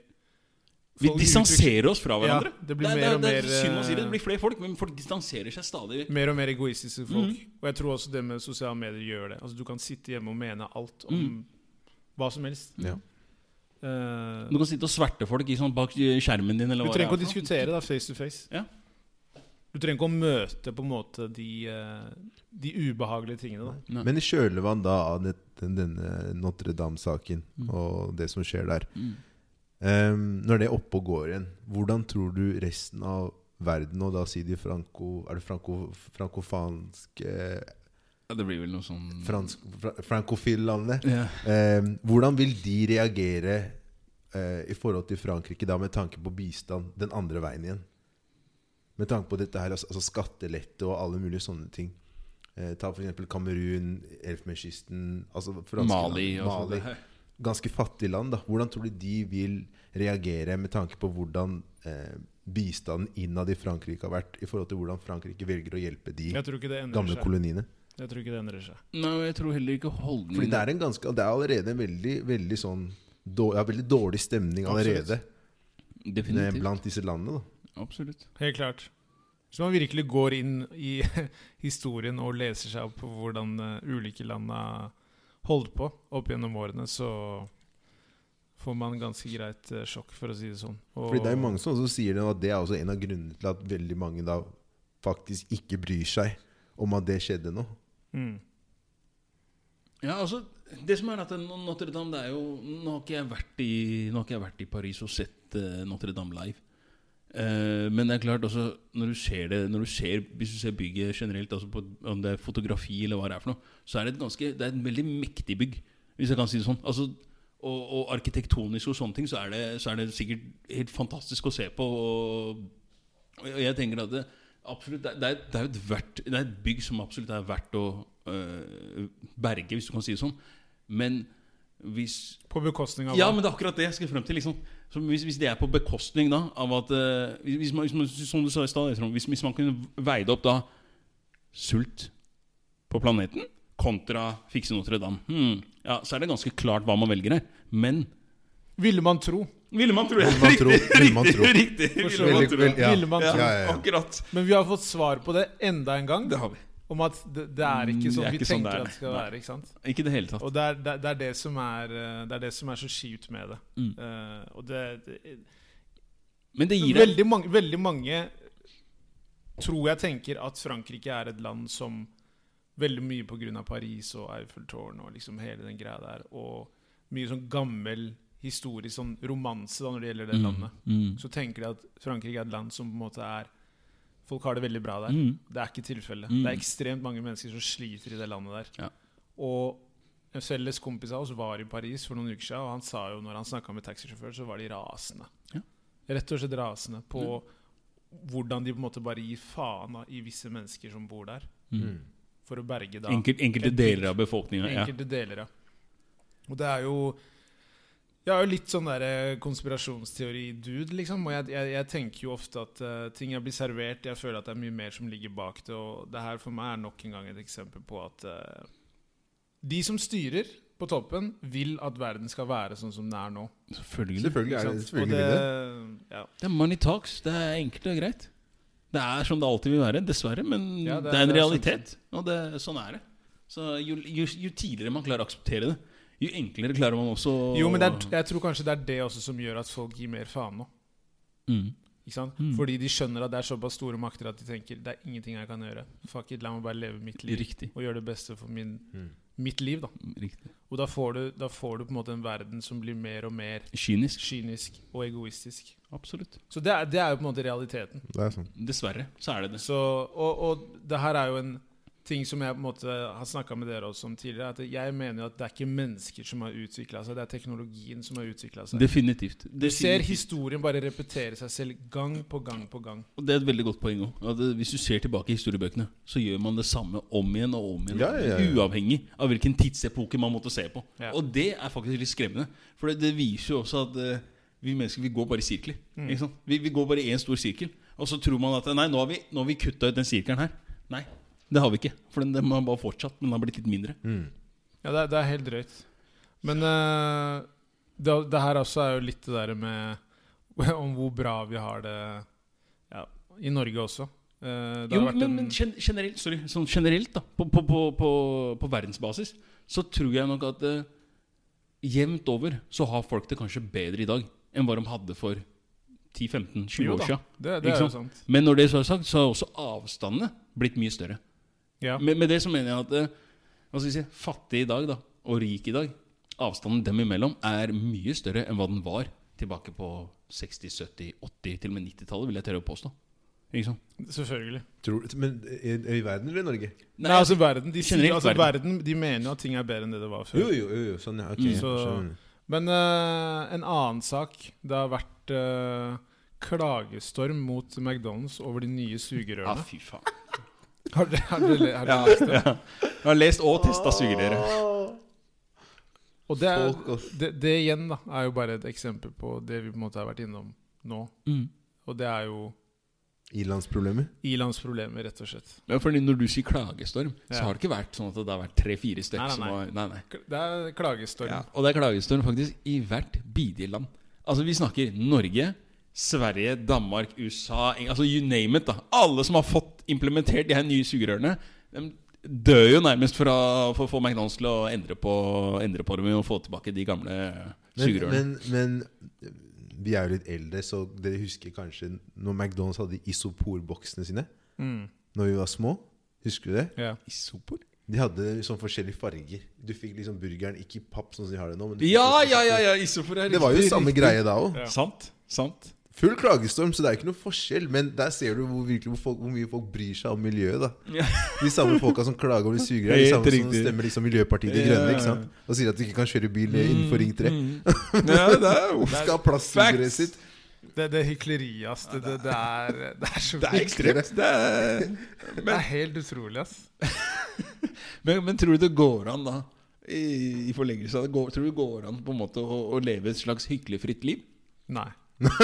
Speaker 1: Vi
Speaker 2: Folk utvikler-
Speaker 1: distanserer oss fra
Speaker 2: Ja,
Speaker 1: hverandre.
Speaker 2: det blir
Speaker 1: er-
Speaker 2: mer og
Speaker 1: det er-
Speaker 2: mer,
Speaker 1: det er synd å si det.
Speaker 2: eh,
Speaker 1: Det blir flere folk, men folk distanserer seg stadig.
Speaker 2: mer og mer
Speaker 1: Mm.
Speaker 2: egoistiske folk. Og jeg tror også det med sosiale medier gjør det. Altså Du kan sitte hjemme og mene alt om
Speaker 1: Mm.
Speaker 2: hva som helst.
Speaker 3: Ja.
Speaker 2: Eh,
Speaker 1: Du kan sitte og sverte folk ikke sant, bak skjermen din. Eller
Speaker 2: du
Speaker 1: hva
Speaker 2: trenger ikke å
Speaker 1: det er for noe.
Speaker 2: diskutere da face to face.
Speaker 1: Ja.
Speaker 2: Du trenger ikke å møte på en måte de, eh, de ubehagelige tingene. da
Speaker 1: Nei.
Speaker 3: Men i kjølvann da av det, den, denne Notre-Dame-saken og det som skjer der
Speaker 1: Mm.
Speaker 3: ehm, Når det er oppe og går igjen, hvordan tror du resten av verden, og da sier de franco... Er det franco, frankofansk eh,
Speaker 1: Ja, det blir vel noe sånn
Speaker 3: fransk, fra, Frankofil-landet?
Speaker 1: ja.
Speaker 3: Ehm, hvordan vil de reagere eh, i forhold til Frankrike da med tanke på bistand den andre veien igjen? Med tanke på dette her, altså, altså skattelette og alle mulige sånne ting. Eh, ta f.eks. Kamerun, Elfenbenskysten altså franske
Speaker 1: Mali
Speaker 3: land-
Speaker 1: og sånn.
Speaker 3: Mali.
Speaker 1: Det her.
Speaker 3: Ganske fattige land. da Hvordan tror du de vil reagere med tanke på hvordan eh, bistanden innad i Frankrike har vært, i forhold til hvordan Frankrike velger å hjelpe de
Speaker 2: Jeg tror ikke det endrer
Speaker 3: gamle
Speaker 2: seg.
Speaker 3: koloniene?
Speaker 2: Jeg tror ikke det endrer seg.
Speaker 1: Nei, og jeg tror heller ikke
Speaker 3: Fordi
Speaker 1: holdningen
Speaker 3: det er, en ganske, det er allerede en veldig, veldig sånn dårlig, ja, veldig dårlig stemning allerede eh,
Speaker 1: Definitivt.
Speaker 3: blant disse landene. Da.
Speaker 1: Absolutt.
Speaker 2: Helt klart. Hvis man virkelig går inn i historien og leser seg opp på hvordan eh, ulike land har holdt på opp gjennom årene, så får man ganske greit eh, sjokk, for å si det sånn. Og-
Speaker 3: Fordi det er jo mange som også sier det, at det er også en av grunnene til at veldig mange da faktisk ikke bryr seg om at det skjedde nå.
Speaker 2: Mm.
Speaker 1: Ja, altså, det som er at Notre-Dame det er jo, Nå har ikke jeg vært i, nå har ikke jeg vært i Paris og sett eh, Notre-Dame live. Eh, men det er klart også, når du ser det når du ser, Hvis du ser bygget generelt, altså på, om det er fotografi eller hva det er for noe, så er det et ganske Det er et veldig mektig bygg, hvis jeg kan si det sånn. Altså, og, og arkitektonisk og sånne ting, så er, det, så er det sikkert helt fantastisk å se på. Og, og jeg tenker at det absolutt det, er- det, er, det, er jo et verdt, det er et bygg som absolutt er verdt å eh, berge, hvis du kan si det sånn. Men hvis
Speaker 2: På bekostning av
Speaker 1: ja,
Speaker 2: hva?
Speaker 1: men det er akkurat det jeg skal frem til. liksom så hvis, hvis det er på bekostning da av at eh, hvis man, hvis man, Som du sa i stad, Trond, hvis, hvis man kunne veie det opp da sult på planeten kontra fikse Notre-Dame, hmm, ja, så er det ganske klart hva man velger her. Men
Speaker 2: Ville man tro.
Speaker 1: ville man tro
Speaker 3: Ville man tro, ville man tro.
Speaker 1: Riktig! riktig ville man
Speaker 3: Veldig-
Speaker 1: tro.
Speaker 3: veldig- ja.
Speaker 2: Ville man
Speaker 1: Ja,
Speaker 2: tro.
Speaker 3: Ja, ja, ja.
Speaker 1: akkurat.
Speaker 2: Men vi har fått svar på det enda en gang.
Speaker 1: Det har vi.
Speaker 2: Om at det, det er
Speaker 1: Mm, det
Speaker 2: ikke sånn
Speaker 1: er
Speaker 2: vi
Speaker 1: ikke sånn
Speaker 2: tenker
Speaker 1: det er.
Speaker 2: at det skal
Speaker 1: Nei.
Speaker 2: være. ikke sant?
Speaker 1: Ikke i det hele tatt.
Speaker 2: Og det er det, er- det, er det, som, er, eh, det er det som er så kjipt med det.
Speaker 1: Mm.
Speaker 2: Eh, og det, det
Speaker 1: Men det gir deg
Speaker 2: veldig, mange, veldig mange tror jeg tenker at Frankrike er et land som Veldig mye pga. Paris og Eiffeltårn og liksom hele den greia der. Og mye sånn gammel historisk sånn romanse da når det gjelder det landet.
Speaker 1: Mm.
Speaker 2: Så tenker de at Frankrike er et land som på en måte er Folk har det veldig bra der.
Speaker 1: Mm.
Speaker 2: Det er ikke tilfellet.
Speaker 1: Mm.
Speaker 2: Det er ekstremt mange mennesker som sliter i det landet der.
Speaker 1: Ja.
Speaker 2: Og en felles kompis av oss var i Paris for noen uker siden, og han sa jo når han snakka med taxisjåføren, så var de rasende.
Speaker 1: Ja. Mm.
Speaker 2: Rett og slett rasende på hvordan de på en måte bare gir faen da, i visse mennesker som bor der,
Speaker 1: Mm.
Speaker 2: for å berge da
Speaker 1: Enkelt, enkelte
Speaker 2: Et bygg.
Speaker 1: deler av befolkninga. Ja.
Speaker 2: enkelte deler av. Og det er jo Jeg er jo litt sånn der konspirasjonsteori-dude, liksom. Og jeg, jeg, jeg tenker jo ofte at eh, ting jeg blir servert, jeg føler at det er mye mer som ligger bak det. Og det her for meg er nok en gang et eksempel på at eh, de som styrer på toppen, vil at verden skal være sånn som den er nå.
Speaker 1: Selvfølgelig.
Speaker 3: Selvfølgelig
Speaker 2: ikke
Speaker 3: er
Speaker 2: sant?
Speaker 3: det,
Speaker 2: Og
Speaker 3: selvfølgelig vil det.
Speaker 2: ja.
Speaker 1: Det er money talks. Det er enkelt og greit. Det er som det alltid vil være, dessverre, men
Speaker 2: Ja,
Speaker 1: det,
Speaker 2: det-
Speaker 1: er en
Speaker 2: det er
Speaker 1: realitet. Og det, sånn er det. Så jo, jo, jo tidligere man klarer å akseptere det, jo enklere klarer man også å-
Speaker 2: Jo, men det er, jeg tror kanskje det er det også som gjør at folk gir mer faen nå.
Speaker 1: mm.
Speaker 2: Ikke sant?
Speaker 1: Mm.
Speaker 2: Fordi de skjønner at det er såpass store makter at de tenker det er ingenting jeg kan gjøre. Fuck it, la meg bare leve mitt liv
Speaker 1: Riktig.
Speaker 2: og gjøre det beste for min,
Speaker 3: Mm.
Speaker 2: mitt liv. da
Speaker 1: Riktig.
Speaker 2: Og da får, du, da får du på en måte en verden som blir mer og mer
Speaker 1: Kynisk.
Speaker 2: kynisk og egoistisk.
Speaker 1: Absolutt.
Speaker 2: Så det er, det er jo på en måte realiteten.
Speaker 3: Det er sånn.
Speaker 1: Dessverre så er det det.
Speaker 2: Så, og, og det her er jo en ting som jeg på en måte har snakka med dere også om tidligere. At jeg mener jo at det er ikke mennesker som har utvikla seg, det er teknologien som har utvikla seg.
Speaker 1: Definitivt.
Speaker 2: Du ser
Speaker 1: Definitivt.
Speaker 2: historien bare repetere seg selv gang på gang på gang.
Speaker 1: Og det er et veldig godt poeng òg. Hvis du ser tilbake i historiebøkene, så gjør man det samme om igjen og om igjen.
Speaker 3: Ja, ja, ja.
Speaker 1: Uavhengig av hvilken tidsepoke man måtte se på.
Speaker 2: Ja.
Speaker 1: Og det er faktisk litt skremmende. For det, det viser jo også at eh, vi mennesker vi går bare i sirkler. Ikke sant? Vi, vi går bare i én stor sirkel. Og så tror man at nei, nå har vi, nå har vi kutta ut den sirkelen her. Nei, det har vi ikke. For den, den har bare fortsatt, men den har blitt litt mindre.
Speaker 3: Mm.
Speaker 2: Ja, det er, det er helt drøyt. Men eh, det, det her også er jo litt det der med Om hvor bra vi har det ja, i Norge også. Eh, det
Speaker 1: Jo,
Speaker 2: har vært
Speaker 1: men,
Speaker 2: en-
Speaker 1: men gen generelt, sorry, sånn generelt da, på, på, på, på, på verdensbasis, så tror jeg nok at eh, jevnt over så har folk det kanskje bedre i dag enn hva de hadde for 10-15-20
Speaker 2: Jo
Speaker 1: år
Speaker 2: da,
Speaker 1: siden.
Speaker 2: Det, det
Speaker 1: Ikke
Speaker 2: er jo
Speaker 1: sant?
Speaker 2: sant.
Speaker 1: Men når det så er sagt, så har også avstandene blitt mye større.
Speaker 2: Ja.
Speaker 1: Med, med det så mener jeg at eh, hva skal jeg si, fattig i dag da, og rik i dag, avstanden dem imellom er mye større enn hva den var tilbake på 60, 70, 80, til og med 90-tallet, vil jeg tørre å påstå. Ikke sant?
Speaker 2: Selvfølgelig.
Speaker 3: Tror, men i, i verden eller i Norge?
Speaker 2: Nei, altså verden de, sier,
Speaker 1: generelt
Speaker 2: altså,
Speaker 1: verden.
Speaker 2: verden De mener jo at ting er bedre enn det det var
Speaker 3: Jo,
Speaker 2: før.
Speaker 3: jo, jo. jo sånn, ja. Ok,
Speaker 1: Mm.
Speaker 3: jeg
Speaker 2: Så-
Speaker 3: skjønner.
Speaker 2: Men eh, en annen sak Det har vært eh, klagestorm mot McDonald's over de nye
Speaker 1: Ja,
Speaker 2: sugerørene.
Speaker 1: fy faen.
Speaker 2: Har dere har dere- har dere
Speaker 1: Ja,
Speaker 2: lest det?
Speaker 1: ja. Jeg har lest og testa sugerøret.
Speaker 2: Og det, er,
Speaker 3: Folk, ass.
Speaker 2: det, det igjen da er jo bare et eksempel på det vi på en måte har vært innom nå. Og det er jo
Speaker 3: I-landsproblemer.
Speaker 2: i-landsproblemer, rett og slett.
Speaker 1: Ja, fordi når du sier klagestorm, så
Speaker 2: Ja.
Speaker 1: har det ikke vært sånn at det har vært tre-fire
Speaker 2: Nei,
Speaker 1: stykker
Speaker 2: nei,
Speaker 1: som
Speaker 2: nei.
Speaker 1: har Nei, nei.
Speaker 2: K- Det er klagestorm.
Speaker 1: Ja. Og det er klagestorm faktisk i hvert bidige land. Altså, vi snakker Norge, Sverige, Danmark, USA Eng- Altså you name it, da. Alle som har fått implementert de her nye sugerørene, de dør jo nærmest for å, for å få McDonald's til å endre på, endre på dem og få tilbake de gamle
Speaker 3: Men,
Speaker 1: sugerørene.
Speaker 3: men, men vi er jo litt eldre, så dere husker kanskje når McDonald's hadde isoporboksene sine?
Speaker 2: Mm.
Speaker 3: Når vi var små? Husker du det?
Speaker 2: Ja.
Speaker 1: Isopor?
Speaker 3: De hadde sånn forskjellige farger. Du fikk liksom burgeren ikke i papp, sånn som de har det nå. Men du fikk
Speaker 1: Ja,
Speaker 3: liksom-
Speaker 1: ja, ja! ja isopor er
Speaker 3: Det var jo
Speaker 1: riktig,
Speaker 3: samme
Speaker 1: riktig.
Speaker 3: greie da òg.
Speaker 2: Ja.
Speaker 1: Sant. Sant.
Speaker 3: Full klagestorm, så det er ikke noe forskjell. Men der ser du hvor, virkelig, hvor, folk, hvor mye folk bryr seg om miljøet. da
Speaker 1: Ja.
Speaker 3: De samme folka som klager over de sugerør, de
Speaker 1: Helt
Speaker 3: samme som
Speaker 1: riktig.
Speaker 3: stemmer liksom Miljøpartiet De
Speaker 1: Ja,
Speaker 3: Grønne.
Speaker 1: ja,
Speaker 3: ikke
Speaker 1: ja.
Speaker 3: sant? Og sier at de ikke kan kjøre bil innenfor Ring 3.
Speaker 1: Mm, ja, det er jo
Speaker 3: Hvorfor skal ha plass til
Speaker 1: Facts.
Speaker 3: sugerøret sitt?
Speaker 2: Det, det hykleriet, ass. Det, det, det, er, det er så
Speaker 1: Det er ekstremt. Det er,
Speaker 2: Det er helt utrolig, ass.
Speaker 1: men, men tror du det går an, da? I, i forlengelse av det, går, tror du det går an på en måte å, å leve et slags hyklefritt liv?
Speaker 2: Nei,
Speaker 1: Nei,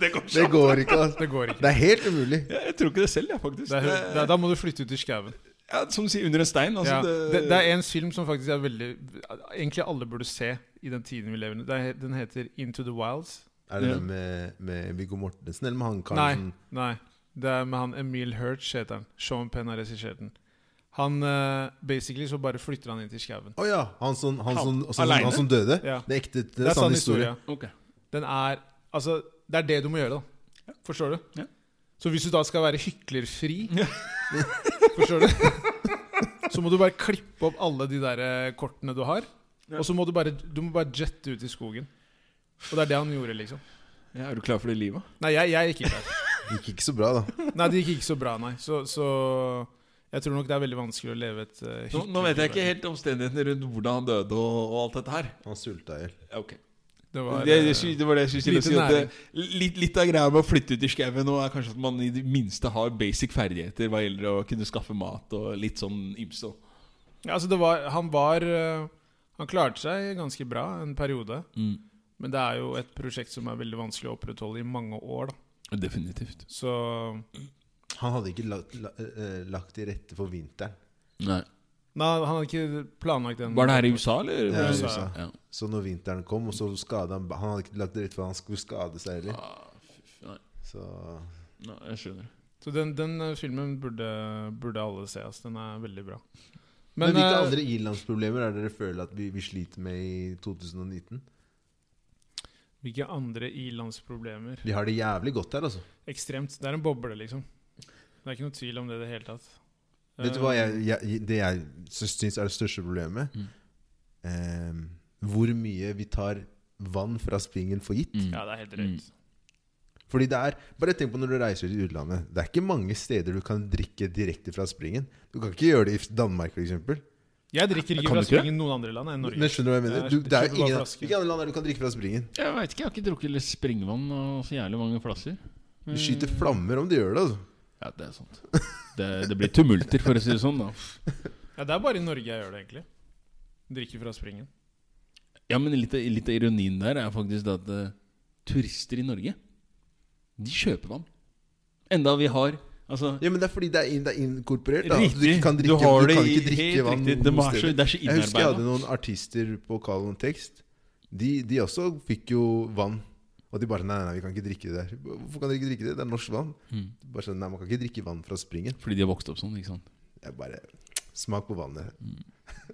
Speaker 1: det går
Speaker 3: Det går ikke. Altså.
Speaker 2: det går ikke.
Speaker 3: Det er helt umulig.
Speaker 1: Ja, jeg tror ikke det selv, jeg, faktisk.
Speaker 2: Det er,
Speaker 1: Det-
Speaker 2: det, da må du flytte ut i skauen.
Speaker 1: ja, som du sier, under en stein. Altså,
Speaker 2: ja.
Speaker 1: det,
Speaker 2: det, det er en film som faktisk er veldig egentlig alle burde se i den tiden vi lever i. Det er- Den heter 'Into the Wilds'.
Speaker 3: Er det
Speaker 1: Ja.
Speaker 3: den med, med Viggo Mortensen eller med han
Speaker 2: Nei,
Speaker 3: Karlsen?
Speaker 2: nei. Det er med han Emil Hirsch, heter han. Sean Penn har regissert den. Han eh, basically så bare flytter han inn til skauen.
Speaker 3: Å ja! Han som, han, som,
Speaker 1: Han-
Speaker 3: og så-
Speaker 1: alene?
Speaker 3: han som døde?
Speaker 2: Ja.
Speaker 3: Det er ekte, det er sann historie.
Speaker 1: Ok.
Speaker 2: Den er Altså, det er det du må gjøre, da. Forstår du?
Speaker 1: Ja.
Speaker 2: Så hvis du da skal være hyklerfri Forstår du? Så må du bare klippe opp alle de der eh, kortene du har.
Speaker 1: Ja.
Speaker 2: Og så må du bare, du må bare jette ut i skogen. Og det er det han gjorde, liksom.
Speaker 1: Ja, er du klar for det livet?
Speaker 2: Nei, jeg, jeg gikk ikke der.
Speaker 3: Det gikk ikke så bra, da.
Speaker 2: Nei, det gikk ikke så bra, nei. Så, så jeg tror nok det er veldig vanskelig å leve et eh,
Speaker 1: Nå,
Speaker 2: hyggelig
Speaker 1: nå vet jeg ikke
Speaker 2: liv.
Speaker 1: helt omstendighetene rundt hvordan han døde og, og alt dette her.
Speaker 3: Han sulta i hjel.
Speaker 1: Ja, Ok
Speaker 2: Det
Speaker 1: Det,
Speaker 2: var,
Speaker 1: det,
Speaker 2: eh,
Speaker 1: det var det jeg skulle
Speaker 2: lite
Speaker 1: si. At det, litt, litt av greia med å flytte ut i skauen nå er kanskje at man i det minste har basic ferdigheter hva gjelder å kunne skaffe mat og litt sånn ymse.
Speaker 2: ja, altså det var, han var eh, Han klarte seg ganske bra en periode.
Speaker 1: Mm.
Speaker 2: Men det er jo et prosjekt som er veldig vanskelig å opprettholde i mange år. Da.
Speaker 1: Definitivt.
Speaker 2: Så
Speaker 3: Han hadde ikke lagt, la, eh, lagt til rette for vinteren.
Speaker 1: Nei.
Speaker 2: Nei, han hadde ikke planlagt den.
Speaker 1: Var det her i USA, eller?
Speaker 3: Ja,
Speaker 2: i
Speaker 3: USA.
Speaker 1: Ja.
Speaker 3: Så når vinteren kom, og så skadet han Han hadde ikke lagt til rette for at han skulle skade seg heller.
Speaker 1: Ah, fy f- nei.
Speaker 3: Så
Speaker 1: Nei, jeg skjønner.
Speaker 2: Så den, den eh, filmen burde, burde alle se. ass. Den er veldig bra.
Speaker 3: Men, hvilke
Speaker 2: eh,
Speaker 3: andre ilandsproblemer er det dere føler at vi, vi sliter med i 2019?
Speaker 2: hvilke andre ilandsproblemer?
Speaker 3: Vi har det jævlig godt her, altså.
Speaker 2: Ekstremt. Det er en boble, liksom. Det er ikke noe tvil om det i det hele tatt.
Speaker 3: Vet du hva jeg, jeg, det jeg syns er det største problemet?
Speaker 1: Mm.
Speaker 3: Eh, hvor mye vi tar vann fra springen for gitt.
Speaker 1: Mm.
Speaker 2: Ja, det er helt drøyt.
Speaker 3: Fordi det er, Bare tenk på når du reiser til utlandet. Det er ikke mange steder du kan drikke direkte fra springen. Du kan ikke gjøre det i Danmark, f.eks.
Speaker 2: Jeg drikker ikke
Speaker 1: Kan du ikke
Speaker 2: fra
Speaker 1: det?
Speaker 2: springen i noen andre land enn
Speaker 3: Men
Speaker 2: Norge.
Speaker 3: skjønner du hva jeg mener?
Speaker 2: Det er-
Speaker 3: Du, det
Speaker 2: kjøper
Speaker 3: er jo
Speaker 2: bare
Speaker 3: ingen,
Speaker 2: flaske.
Speaker 3: hvilke andre land er det du kan drikke fra springen?
Speaker 1: Jeg veit ikke. Jeg har ikke drukket litt springvann og så jævlig mange flasser. Mm.
Speaker 3: Du skyter flammer om du gjør det. altså.
Speaker 1: Ja, det er sant. Det, det blir tumulter, for å si det sånn. da
Speaker 2: Ja, det er bare i Norge jeg gjør det, egentlig. Drikker fra springen.
Speaker 1: Ja, men litt av, litt av ironien der er faktisk det at eh, turister i Norge, de kjøper vann. Enda vi har Altså,
Speaker 3: Ja, men Det er fordi det er, inn, det er inkorporert. da.
Speaker 1: riktig.
Speaker 3: Du ikke kan drikke,
Speaker 1: du har det
Speaker 3: kan
Speaker 1: i-
Speaker 3: ikke drikke
Speaker 1: helt
Speaker 3: vann
Speaker 1: riktig. Det,
Speaker 3: noen
Speaker 1: var så,
Speaker 3: steder.
Speaker 1: det er så
Speaker 3: Jeg husker jeg hadde
Speaker 1: innarbeida.
Speaker 3: noen artister på Call on Text. De, de også fikk jo vann. Og de bare nei, nei, vi kan ikke drikke det der. Hvorfor kan dere ikke drikke det? Det er norsk vann.
Speaker 1: Mm.
Speaker 3: De Bare sånn, nei, Man kan ikke drikke vann fra springen.
Speaker 1: Fordi de har vokst opp sånn, ikke sant.
Speaker 3: Jeg bare Smak på vannet.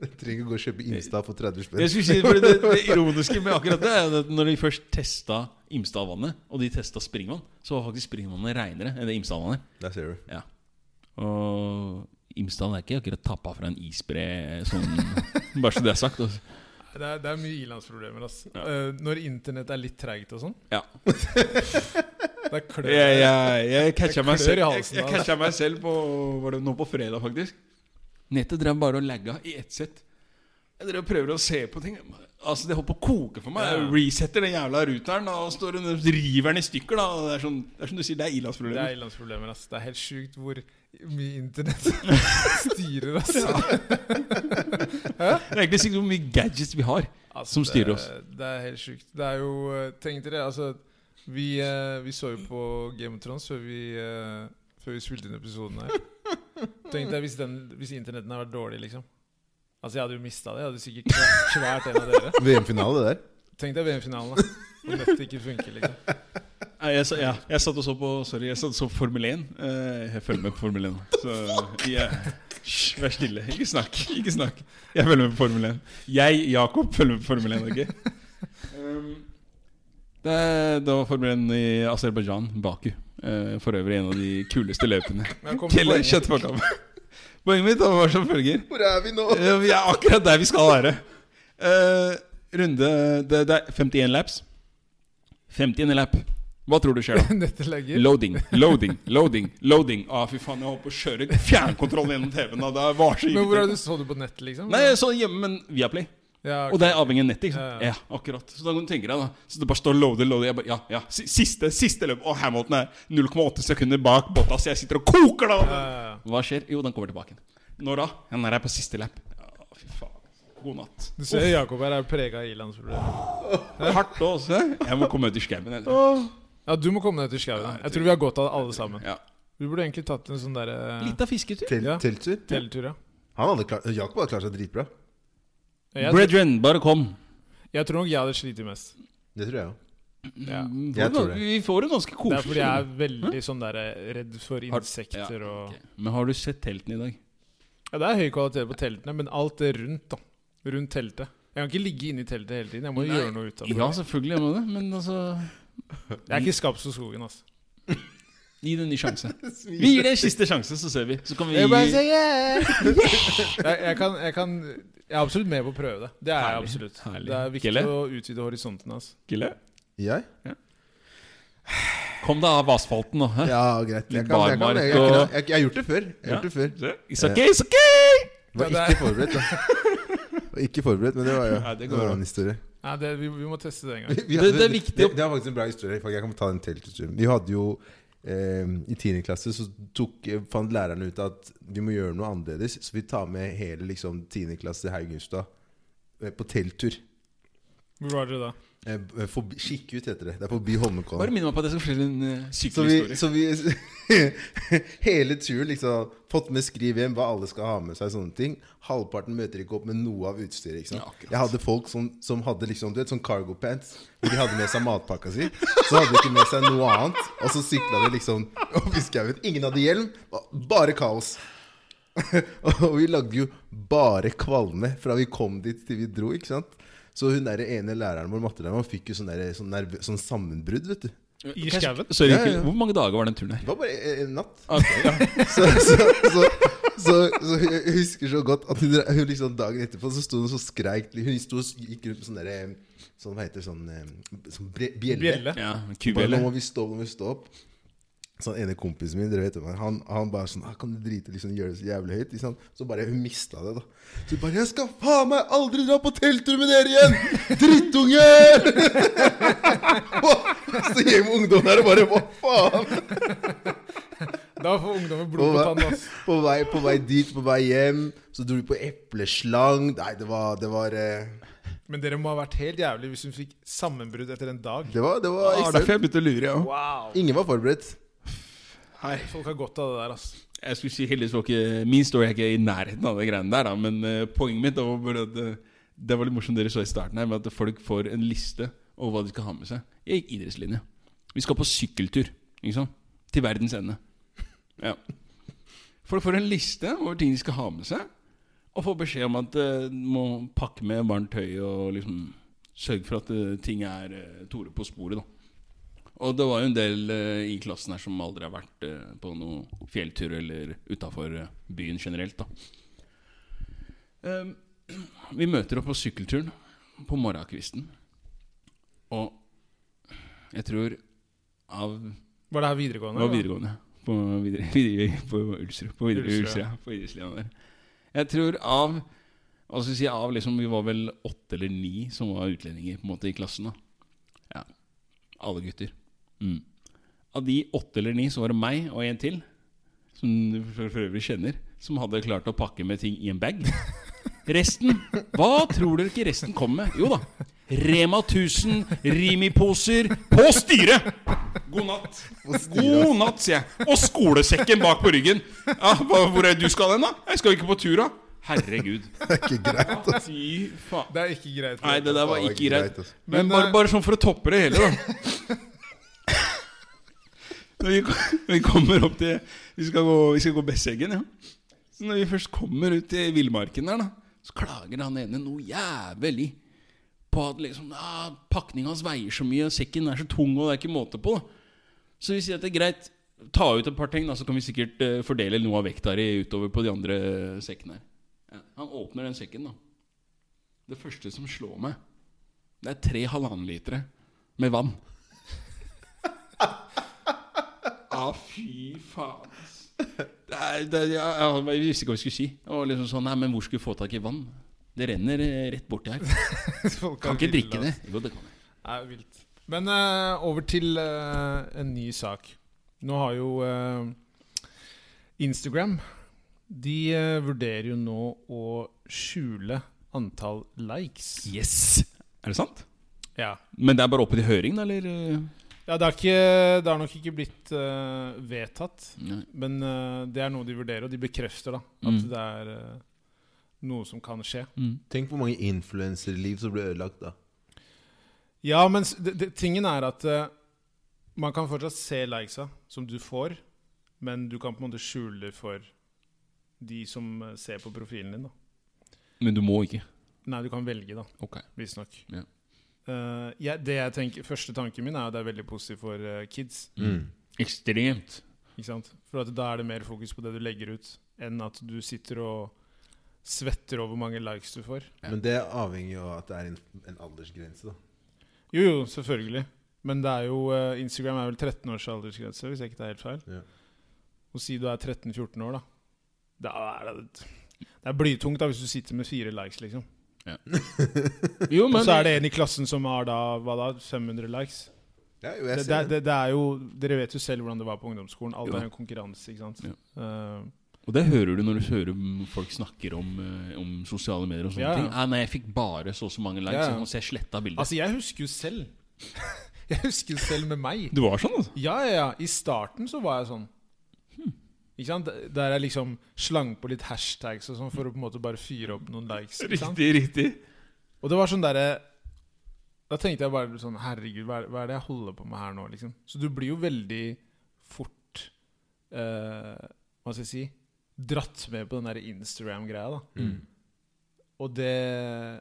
Speaker 3: Du trenger ikke gå og kjøpe Insta for 30 spenn.
Speaker 1: Mm. Jeg skulle si, for det, det ironiske med akkurat det er at når de først testa Imstadvannet, og de testa springvann, så var faktisk springvannet reinere enn det Imstadvannet.
Speaker 3: Der ser du.
Speaker 1: Ja. Og Imsdal er ikke akkurat tappa fra en isbre, sånn, bare så det er sagt. Altså.
Speaker 2: Det er, det er mye ilandsproblemer, ass. Eh, når internett er litt treigt og sånn.
Speaker 1: Ja.
Speaker 2: Det er klør.
Speaker 1: Jeg, jeg, jeg catcha
Speaker 2: Det
Speaker 1: meg
Speaker 2: klør
Speaker 1: selv,
Speaker 2: i
Speaker 1: jeg,
Speaker 2: halsen,
Speaker 1: jeg
Speaker 2: da.
Speaker 1: catcha meg selv på Var det nå på fredag, faktisk? Nettet drev bare og lagga i ett sett. Jeg drev og prøver å se på ting. Altså Det holdt på å koke for meg. Jeg resetter den jævla routeren da, og står og river den i stykker. da og Det er, sånn, det er som du sier, det er
Speaker 2: Det er
Speaker 1: ilandsproblemer.
Speaker 2: ilandsproblemer, ass. Det er helt sjukt hvor mye internett styrer, ass.
Speaker 1: Det er egentlig sikkert hvor mye gadgets vi har.
Speaker 2: Altså,
Speaker 1: Som styrer oss.
Speaker 2: Det, det er helt sjukt. Det er jo eh, Tenk dere, altså vi, eh, vi så jo på Game of Thrones før vi, eh, før vi spilte inn episoden her. Tenk deg hvis, den, hvis internetten hadde vært dårlig, liksom. Altså, jeg hadde jo mista det. Jeg hadde sikkert kvært- kvært en av dere.
Speaker 3: VM-finale, det der.
Speaker 2: Tenk deg VM-finalen, da. Om nettet ikke funker, liksom.
Speaker 1: Nei, jeg, sa- ja, jeg satt og så på Sorry, jeg satt og så på Formel 1. Eh, jeg følger med på Formel 1. Så jeg, Hysj, vær stille. Ikke snakk. Ikke snakk. Jeg følger med på Formel 1. Jeg, Jakob, følger med på Formel 1. ok? Um, det, det var Formel 1 i Aserbajdsjan, Baku. Eh, for øvrig en av de kuleste løpene.
Speaker 2: Men jeg kom til
Speaker 1: Kjelle,
Speaker 2: poenget.
Speaker 1: kjøtt folk av. Poenget mitt var som følger.
Speaker 3: Hvor er vi nå?
Speaker 1: Eh, Vi er akkurat der vi skal være. Eh, runde det, det er 51 laps. 50. lap. Hva tror du skjer da?
Speaker 2: Dette legger
Speaker 1: Loading, loading, loading. loading Å, fy faen, jeg holdt på å kjøre fjernkontrollen gjennom TV-en. da. Det var så
Speaker 2: Men hvor er det,
Speaker 1: irriterende.
Speaker 2: så du på nettet, liksom?
Speaker 1: Nei, jeg så det hjemme, men Viaplay.
Speaker 2: Ja,
Speaker 1: Og det er avhengig av nettet. ikke
Speaker 2: Ja,
Speaker 1: sant?
Speaker 2: ja.
Speaker 1: Ja, akkurat. Så da kan du tenke deg da Så det bare står loader, loader. Jeg bare, ja, ja. Si- Siste siste løp. Og Hamilton er 0,8 sekunder bak Bottas. Jeg sitter og koker, da!
Speaker 2: Eh,
Speaker 1: Hva skjer? Jo, den kommer tilbake. igjen. Når da? Ja, når jeg er på siste lap. Ja, fy faen. God natt.
Speaker 2: Du ser Jakob her er prega av ilandsproblemer.
Speaker 1: Hardt også. Jeg må komme ut i skauen. jeg.
Speaker 2: Ja, du må komme ned til skauen. Jeg tror vi har godt av det, alle sammen.
Speaker 1: Ja.
Speaker 2: Du burde egentlig tatt en sånn derre
Speaker 1: Litt av fisketur.
Speaker 3: Tel-
Speaker 2: Ja.
Speaker 3: Telttur?
Speaker 2: teletur, ja.
Speaker 3: Han hadde klart, Jakob hadde klart seg dritbra.
Speaker 2: Jeg,
Speaker 1: Brethren, bare kom.
Speaker 2: jeg tror nok jeg hadde slitt mest.
Speaker 3: Det tror jeg òg.
Speaker 2: Ja.
Speaker 3: Jeg tror det.
Speaker 1: Vi Mm, får det ganske
Speaker 2: Det
Speaker 1: koselig.
Speaker 2: er fordi jeg er veldig sånn der eh, redd for
Speaker 1: Har-
Speaker 2: insekter
Speaker 1: ja,
Speaker 2: og
Speaker 1: ok. Men har du sett teltene i dag?
Speaker 2: Ja, det er høy kvalitet på teltene, men alt det rundt, da. Rundt teltet. Jeg kan ikke ligge inne i teltet hele tiden. Jeg må jo
Speaker 1: Nei.
Speaker 2: gjøre noe ut av det.
Speaker 1: Ja, selvfølgelig jeg må det, men altså
Speaker 2: Jeg er ikke skapt for skogen, altså.
Speaker 1: Gi det en ny sjanse. Vi gir det en siste sjanse, så ser vi. Så kan vi
Speaker 2: Jeg, bare sier, yeah. jeg, jeg, kan, jeg kan Jeg er absolutt med på å prøve det. Det er jeg
Speaker 1: Herlig,
Speaker 2: absolutt.
Speaker 1: herlig.
Speaker 2: Det er viktig
Speaker 1: Kelle?
Speaker 2: å utvide horisonten. Altså.
Speaker 1: Gille,
Speaker 3: Jeg?
Speaker 1: Kom deg av asfalten nå. hæ?
Speaker 3: Ja, greit. Jeg,
Speaker 1: Litt
Speaker 3: kan, jeg, kan, jeg,
Speaker 1: barmark
Speaker 3: jeg, jeg,
Speaker 1: og-
Speaker 3: jeg, jeg har gjort det før. Jeg har gjort det før.
Speaker 1: Se, It's okay, it's okay!
Speaker 2: Ja,
Speaker 3: Var
Speaker 2: det er-
Speaker 3: ikke forberedt, da. Var ikke forberedt, men det var jo
Speaker 1: Nei, det
Speaker 3: det
Speaker 1: går
Speaker 3: var en
Speaker 1: bra.
Speaker 3: annen historie.
Speaker 2: Nei, det, vi, vi må teste det en gang.
Speaker 1: Det- det er viktig å-
Speaker 3: Det, det er faktisk en bra historie. faktisk. Jeg kan ta den teltturen. Vi hadde jo eh, I 10. klasse så tok, eh, fant lærerne ut at vi må gjøre noe annerledes, så vi tar med hele liksom, 10. klasse Haugustad eh, på telttur.
Speaker 2: Hvor var dere da?
Speaker 3: Eh, forbi, skikk ut heter det. Det er forbi
Speaker 1: Bare
Speaker 3: Holmenkollen.
Speaker 1: minn meg på at jeg skal fortelle en uh,
Speaker 3: Så
Speaker 1: sykelig
Speaker 3: vi,
Speaker 1: historie.
Speaker 3: så vi Hele turen liksom fått med skriv hjem hva alle skal ha med seg. sånne ting Halvparten møter ikke opp med noe av utstyret. ikke sant?
Speaker 1: Ja, akkurat.
Speaker 3: Jeg hadde folk som, som hadde liksom, du vet, sånn cargo pants. Hvor de hadde med seg matpakka si. Så hadde de ikke med seg noe annet. Og så sykla de liksom opp i skauen. Ingen hadde hjelm. Bare kaos. Og vi lagde jo bare kvalme fra vi kom dit til vi dro. ikke sant? Så hun der ene læreren vår, mattelæreren, vår, fikk jo sånn, der, sånn, nervø- sånn sammenbrudd, vet du.
Speaker 2: I skauen?
Speaker 1: Sorry,
Speaker 3: Ja, ja, ja.
Speaker 1: Gille. Hvor mange dager var den turen her?
Speaker 3: Det var bare en- en natt.
Speaker 1: Ok, ja.
Speaker 3: Så, så, så, så, så jeg husker så godt at hun, hun liksom dagen etterpå så sto hun så skreik Hun sto, og gikk rundt med sånn derre Sånn, hva heter det sånn, eh, sånn bre, bjelle.
Speaker 2: Bjelle?
Speaker 1: ja
Speaker 3: Bare, nå
Speaker 1: Kubjelle.
Speaker 3: må vi stå, nå må vi stå opp. Så den ene kompisen min, dere vet jo meg, han, han bare sånn «Ah, Kan du drite liksom gjøre det så jævlig høyt? Ikke sant? Så bare hun mista det, da. Så hun bare 'Jeg skal faen meg aldri dra på telttur med dere igjen! Drittunge!' Og så gjeng med ungdom der og bare 'Hva faen?'
Speaker 2: Da får ungdommen
Speaker 3: På
Speaker 2: blod på tann.
Speaker 3: vei,
Speaker 2: ass.
Speaker 3: på, vei, på vei dit, på vei hjem. Så dro vi på epleslang. Nei, det var Det var, eh,
Speaker 2: Men dere må ha vært helt jævlig hvis hun fikk sammenbrudd etter en dag.
Speaker 3: det var, det
Speaker 2: Ah,
Speaker 1: Ah,
Speaker 3: var ekstremt.
Speaker 1: jeg begynte å lure, ja.
Speaker 2: Wow.
Speaker 3: Ingen var forberedt.
Speaker 2: Folk har godt av det der, altså.
Speaker 1: Jeg skulle si heldigvis var ikke Min story er ikke i nærheten av det greiene der, da, men eh, poenget mitt var bare at eh, Det var litt morsomt dere så i starten her, med at folk får en liste over hva de skal ha med seg. Jeg gikk idrettslinje. Vi skal på sykkeltur, ikke sant? Til verdens ende. Ja. Folk får en liste over ting de skal ha med seg, og får beskjed om at eh, de må pakke med varmt tøy og liksom sørge for at eh, ting er eh, Tore på sporet, da. Og det var jo en del eh, i klassen her som aldri har vært eh, på noen fjelltur eller utafor byen generelt, da. Ehm, vi møter opp på sykkelturen på morgenkvisten. Og jeg tror av Det
Speaker 2: Var det her videregående?
Speaker 1: var
Speaker 2: eller?
Speaker 1: videregående. På, videre, videre, på Ulsrud. På videre,
Speaker 2: Ulsrud, ja.
Speaker 1: Ulsrud, ja, på idrettslinja der. Jeg tror av Hva skal vi si av liksom, Vi var vel åtte eller ni som var utlendinger på en måte i klassen. da Ja, Alle gutter. Mm. Av de åtte eller ni så var det meg og en til, som du for for øvrig kjenner, som hadde klart å pakke med ting i en bag. Resten Hva tror dere ikke resten kom med? Jo da. Rema 1000 Rimi-poser på styret! God natt. God natt, sier jeg. Og skolesekken bak på ryggen. Ja, hva- hvor er det du skal hen, da? Jeg skal ikke på tur, da. Herregud.
Speaker 3: Det er ikke greit. ass.
Speaker 1: Fy faen.
Speaker 2: Det er ikke greit.
Speaker 1: Nei, det der var
Speaker 3: Faen,
Speaker 1: ikke greit. altså.
Speaker 3: ass.
Speaker 1: Men,
Speaker 2: Men,
Speaker 1: bare,
Speaker 2: eh,
Speaker 1: bare sånn for å toppe det hele, da. når, vi, kom- når vi kommer opp til Vi skal gå, vi skal gå Besseggen, ja. Så når vi først kommer ut til villmarken der, da, så klager han ene noe jævlig på at liksom ah, pakninga hans veier så mye, og sekken er så tung, og det er ikke måte på. Da. Så vi sier at det er greit. Ta ut et par ting, da, så kan vi sikkert eh, fordele noe av vekta di utover på de andre sekkene her. Ja. Han åpner den sekken, da. Det første som slår meg det er tre halvannen litere med vann. Ja, Ah, fy faen. ass. Det er, det, er- ja, ja, jeg visste ikke hva jeg skulle si. Det var liksom sånn, nei, Men hvor skal vi få tak i vann? Det renner eh, rett borti her.
Speaker 2: Folk
Speaker 1: Kan
Speaker 2: er
Speaker 1: ikke
Speaker 2: ville,
Speaker 1: drikke det.
Speaker 2: altså.
Speaker 1: Jo, det kan jeg.
Speaker 2: Det er vilt. Men eh, over til eh, en ny sak. Nå har jo eh, Instagram De eh, vurderer jo nå å skjule antall likes.
Speaker 1: Yes! Er det sant?
Speaker 2: Ja.
Speaker 1: Men det er bare oppe til høring, da, eller? eh?
Speaker 2: ja det, er ikke, det har nok ikke blitt eh, vedtatt,
Speaker 1: Nei.
Speaker 2: men eh, det er noe de vurderer, og de bekrefter da at
Speaker 1: Mm.
Speaker 2: det er eh, noe som kan skje.
Speaker 1: Mm.
Speaker 3: Tenk hvor mange influenserliv som ble ødelagt da.
Speaker 2: Ja, men s- det, det, tingen er at eh, man kan fortsatt se likesa som du får, men du kan på en måte skjule for de som eh, ser på profilen din. da.
Speaker 1: Men du må ikke.
Speaker 2: Nei, du kan velge, da,
Speaker 1: Ok.
Speaker 2: visstnok.
Speaker 1: Ja.
Speaker 2: Eh, jeg- det jeg tenker, første tanken min er at det er veldig positivt for eh, kids.
Speaker 3: Mm.
Speaker 1: Ekstremt.
Speaker 2: ikke sant? For at da er det mer fokus på det du legger ut, enn at du sitter og svetter over hvor mange likes du får.
Speaker 3: Men det avhenger jo av at det er en, en aldersgrense, da.
Speaker 2: Jo, jo, selvfølgelig. Men det er jo, eh, Instagram er vel 13 års aldersgrense, hvis jeg ikke tar helt feil.
Speaker 3: Ja.
Speaker 2: Og si du er 13-14 år, da. Da er det, det er blytungt da hvis du sitter med fire likes, liksom.
Speaker 1: Jo,
Speaker 2: Og så er det en i klassen som har da hva da, 500 likes.
Speaker 3: Ja, jo,
Speaker 2: Det,
Speaker 3: jeg
Speaker 2: det,
Speaker 3: ser det.
Speaker 2: det, det er jo, Dere vet jo selv hvordan det var på ungdomsskolen. Alt
Speaker 1: Jo.
Speaker 2: er en konkurranse, ikke sant.
Speaker 1: Ja.
Speaker 2: Eh,
Speaker 1: Og det hører du når du hører m- folk snakker om, eh, om sosiale medier og sånne
Speaker 2: Ja.
Speaker 1: ting. Ah, nei, jeg fikk bare så og så mange likes,
Speaker 2: Ja, ja.
Speaker 1: og så jeg sletta bildet.
Speaker 2: altså, jeg husker jo selv. jeg husker jo selv med meg.
Speaker 1: du var sånn, altså?
Speaker 2: Ja, ja, ja. I starten så var jeg sånn. Ikke sant? Der jeg liksom slang på litt hashtags og sånn for å på en måte bare fyre opp noen likes. Ikke sant?
Speaker 1: Riktig, riktig.
Speaker 2: Og det var sånn derre Da tenkte jeg bare sånn Herregud, hva er, hva er det jeg holder på med her nå? liksom Så du blir jo veldig fort eh, Hva skal jeg si Dratt med på den der Instagram-greia. da
Speaker 3: Mm.
Speaker 2: Og det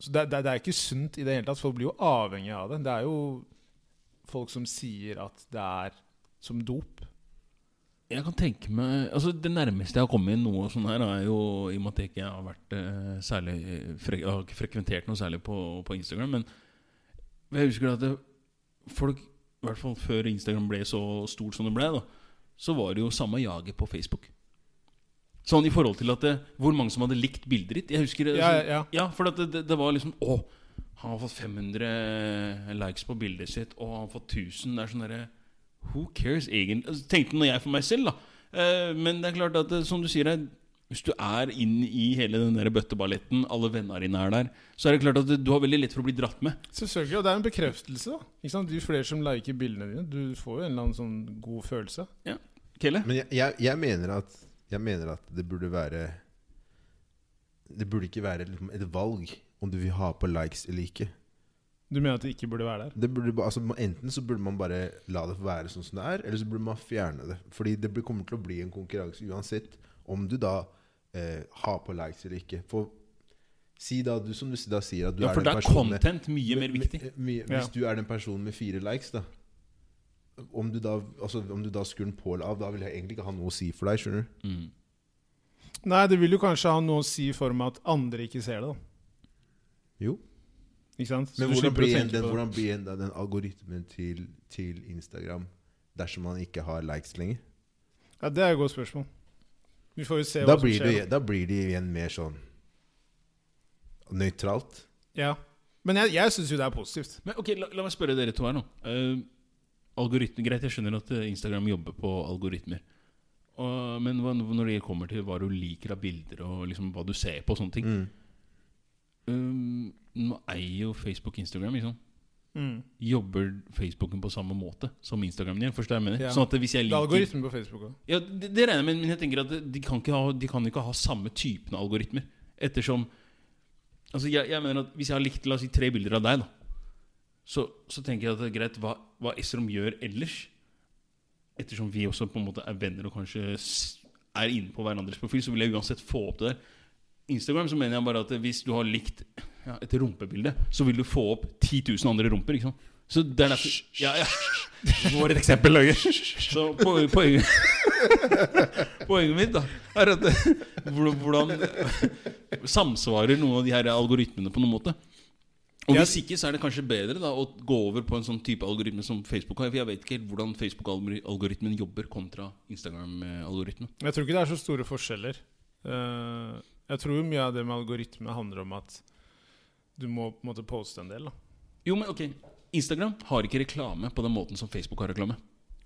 Speaker 2: Så det, det, det er ikke sunt i det hele tatt. Folk blir jo avhengig av det. Det er jo folk som sier at det er som dop.
Speaker 1: Jeg kan tenke meg Altså Det nærmeste jeg har kommet noe sånn her, er jo i og med at jeg ikke har vært eh, særlig eh, fre jeg har ikke frekventert noe særlig på, på Instagram, men jeg husker at det, folk I hvert fall før Instagram ble så stort som det ble, da, så var det jo samme jaget på Facebook. Sånn i forhold til at det, hvor mange som hadde likt bildet ditt. Jeg husker
Speaker 2: Ja,
Speaker 1: sånn-
Speaker 2: ja.
Speaker 1: ja, for at det, det, det var liksom Å, han har fått 500 likes på bildet sitt, og han har fått 1000. Det er sånn derre Who cares, egentlig? Altså, Tenkte nå jeg for meg selv, da. Eh, men det er klart at, eh, som du sier her, hvis du er inn i hele den der bøtteballetten, alle vennene dine er der, så er det klart at du har veldig lett for å bli dratt med.
Speaker 2: Selvfølgelig, og det er en bekreftelse. da Ikke sant? Jo flere som liker bildene dine, du får jo en eller annen sånn god følelse.
Speaker 1: Kelle?
Speaker 3: Men jeg, jeg, jeg, mener at, jeg mener at det burde være Det burde ikke være liksom et valg om du vil ha på likes eller ikke.
Speaker 2: Du mener at det ikke burde være der?
Speaker 3: Det burde, ba- altså, enten så burde man bare la det være sånn som det er, eller så burde man fjerne det. Fordi det blir- kommer til å bli en konkurranse uansett om du da eh, har på likes eller ikke. For si da du som du da sier at du
Speaker 1: Ja,
Speaker 3: er
Speaker 1: for da
Speaker 3: den
Speaker 1: er
Speaker 3: personen med-
Speaker 1: content mye mer viktig.
Speaker 3: med- mye-
Speaker 2: Ja.
Speaker 3: Hvis du er den personen med fire likes, da om du da, altså, om du da skrur den på eller av, da vil jeg egentlig ikke ha noe å si for deg. skjønner du?
Speaker 1: Mm.
Speaker 2: Nei, det vil jo kanskje ha noe å si for meg at andre ikke ser det, da.
Speaker 3: Jo.
Speaker 2: Ikke sant? Så
Speaker 3: Men
Speaker 2: du
Speaker 3: hvordan
Speaker 2: slipper å
Speaker 3: blir,
Speaker 2: tenke
Speaker 3: en,
Speaker 2: på
Speaker 3: den,
Speaker 2: det.
Speaker 3: hvordan blir en, da den algoritmen til, til Instagram dersom man ikke har likes lenger?
Speaker 2: Ja, Det er et godt spørsmål. Vi får jo se
Speaker 3: Da
Speaker 2: hva som
Speaker 3: blir,
Speaker 2: skjer.
Speaker 3: det, da blir det igjen mer sånn nøytralt.
Speaker 2: Ja. Men jeg, jeg syns jo det er positivt.
Speaker 1: Men ok, la, la meg spørre dere to her nå. Eh, algoritme, Greit, jeg skjønner at eh, Instagram jobber på algoritmer. Og, men hva, når det kommer til hva du liker av bilder, og liksom hva du ser på og sånne ting
Speaker 3: Mm.
Speaker 1: eh, Nå eier jo Facebook Instagram, liksom.
Speaker 2: Mm.
Speaker 1: Jobber Facebooken på samme måte som Instagram gjør? Forstår jeg hva jeg mener?
Speaker 2: Ja.
Speaker 1: Sånn at hvis jeg
Speaker 2: Det er
Speaker 1: liker
Speaker 2: algoritmen på Facebook òg.
Speaker 1: ja, det, det regner jeg med, men jeg tenker at de kan ikke ha, de kan ikke ha samme typen av algoritmer. Ettersom Altså, jeg, jeg mener at hvis jeg har likt la oss si, tre bilder av deg, da, så, så tenker jeg at det er greit hva, hva Esrom gjør ellers. Ettersom vi også på en måte er venner og kanskje s- er inne på hverandres profil, så vil jeg uansett få opp det der. Instagram så mener jeg bare at hvis du har likt ja, et rumpebilde, så vil du få opp 10 000 andre rumper. Ikke sant? Så det er derfor ja, ja. Det var et eksempel, Løye. Så po- poenget Poenget mitt da er at hvordan hvordan samsvarer noen av de her algoritmene på noen måte. Og Hvis ikke, så er det kanskje bedre da å gå over på en sånn type algoritme som Facebook har. For jeg vet ikke helt hvordan Facebook-algoritmen jobber kontra Instagram-algoritmen.
Speaker 2: Jeg tror ikke det er så store forskjeller. Eh, jeg tror jo mye av det med algoritme handler om at du må på en måte poste en del. da
Speaker 1: Jo, men ok Instagram har ikke reklame på den måten som Facebook har reklame.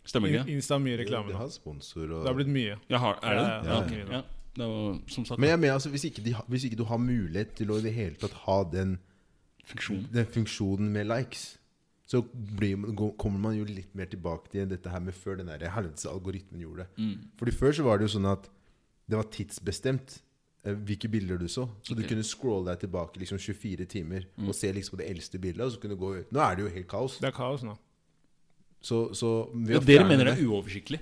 Speaker 1: Stemmer ikke det?
Speaker 2: Insta har mye
Speaker 3: De
Speaker 2: reklame nå.
Speaker 3: har sponsor og
Speaker 2: Det har blitt mye.
Speaker 1: Jeg har, er det det?
Speaker 2: Ja, ja,
Speaker 1: ok,
Speaker 2: ja.
Speaker 1: ja. Det var, som sagt,
Speaker 3: Men jeg mener, altså, hvis, ikke de, ha- hvis ikke du har mulighet til å i det hele tatt ha den,
Speaker 1: funksjonen.
Speaker 3: den funksjonen med likes, så blir, man- gå- kommer man jo litt mer tilbake til dette her med før den der helvetes algoritmen gjorde det.
Speaker 1: Mm.
Speaker 3: Fordi før så var det jo sånn at det var tidsbestemt eh, hvilke bilder du så. Så du
Speaker 1: Ok. Mm.
Speaker 3: kunne scrolle deg tilbake liksom 24 timer og se liksom på det eldste bildet. Og så kunne du gå Nå er det jo helt kaos.
Speaker 2: Det er kaos nå.
Speaker 3: Så, så ved
Speaker 1: Ja,
Speaker 3: å
Speaker 1: dere
Speaker 3: fjerne
Speaker 1: mener det er uoversiktlig?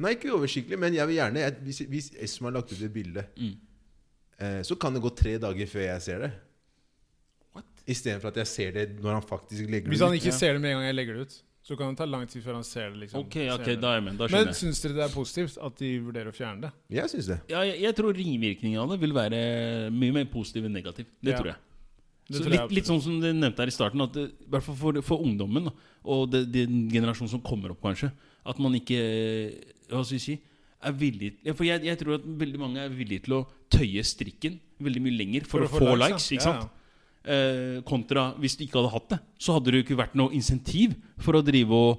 Speaker 3: Nei, ikke uoversiktlig, men jeg vil gjerne jeg, Hvis, hvis Esma har lagt ut et bilde,
Speaker 2: Mm.
Speaker 3: eh, så kan det gå tre dager før jeg ser det. Istedenfor at jeg ser det når han faktisk legger
Speaker 2: Hvis
Speaker 3: det
Speaker 2: han
Speaker 3: ut.
Speaker 2: ikke ser det med en gang jeg legger det ut, så kan det ta lang tid før han ser det. liksom
Speaker 1: Ok, ok,
Speaker 2: Ser det.
Speaker 1: da er jeg med. Da
Speaker 2: Men
Speaker 1: skjønner jeg.
Speaker 2: syns dere det er positivt at de vurderer å fjerne det?
Speaker 3: Jeg syns det.
Speaker 1: Ja, jeg, jeg tror ringvirkningene av det vil være mye mer positiv enn negativ. Det
Speaker 2: Ja.
Speaker 1: tror jeg.
Speaker 2: Det
Speaker 1: Så
Speaker 2: tror jeg
Speaker 1: litt, litt sånn som du nevnte her i starten, at det, i hvert fall for, for ungdommen, da, og det- den generasjonen som kommer opp, kanskje, at man ikke eh, Hva skal vi si? Er villig, ja, for jeg, jeg tror at veldig mange er villige til å tøye strikken veldig mye lenger for, å, få likes.
Speaker 2: ja.
Speaker 1: ikke
Speaker 2: Ja,
Speaker 1: sant? Eh, kontra hvis du ikke hadde hatt det, så hadde det jo ikke vært noe insentiv for å drive og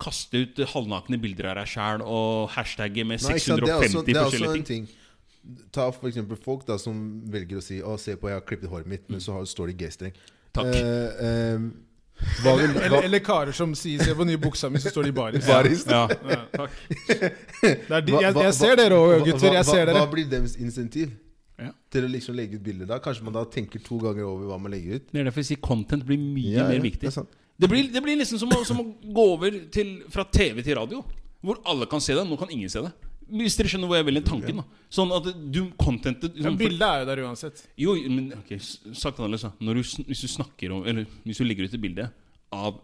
Speaker 1: kaste ut halvnakne bilder av deg sjæl og hashtagge med
Speaker 3: Nei, ikke sant? Det er
Speaker 1: 650
Speaker 3: også, det er også
Speaker 1: forskjellige
Speaker 3: en
Speaker 1: ting.
Speaker 3: ting. Ta for eksempel folk da som velger å si Å, se på, jeg har klippet håret mitt,
Speaker 2: Mm.
Speaker 3: men så har, står det G-streng.
Speaker 1: Takk.
Speaker 3: Eh, eh, hva
Speaker 2: ja.
Speaker 3: vil, hva,
Speaker 2: Eller, eller karer som sier 'se på nye buksa mi', så står de i baris.
Speaker 3: Baris.
Speaker 1: Ja,
Speaker 2: Ja.
Speaker 1: takk.
Speaker 2: Det er de,
Speaker 3: hva-
Speaker 2: jeg,
Speaker 3: hva-
Speaker 2: jeg ser dere
Speaker 3: hva-
Speaker 2: òg, gutter. Jeg
Speaker 3: hva-
Speaker 2: ser dere.
Speaker 3: Hva blir deres insentiv
Speaker 1: Ja.
Speaker 3: til å liksom legge ut bilder da? Kanskje man da tenker to ganger over hva man legger ut?
Speaker 1: Det er derfor jeg sier content blir mye
Speaker 3: Ja, ja,
Speaker 1: mer
Speaker 3: det
Speaker 1: viktig.
Speaker 3: er sant.
Speaker 1: Det blir, det blir liksom som å, som å gå over til, fra TV til radio. Hvor alle kan se deg. Nå kan ingen se deg. Hvis dere skjønner hvor jeg vil hen tanken. da Sånn at du contentet
Speaker 2: Men
Speaker 1: liksom, for-
Speaker 2: bildet er jo der uansett.
Speaker 1: Jo, men ok, s- sagt annerledes. da Når du, sn- hvis du snakker om Eller hvis du legger ut et bilde av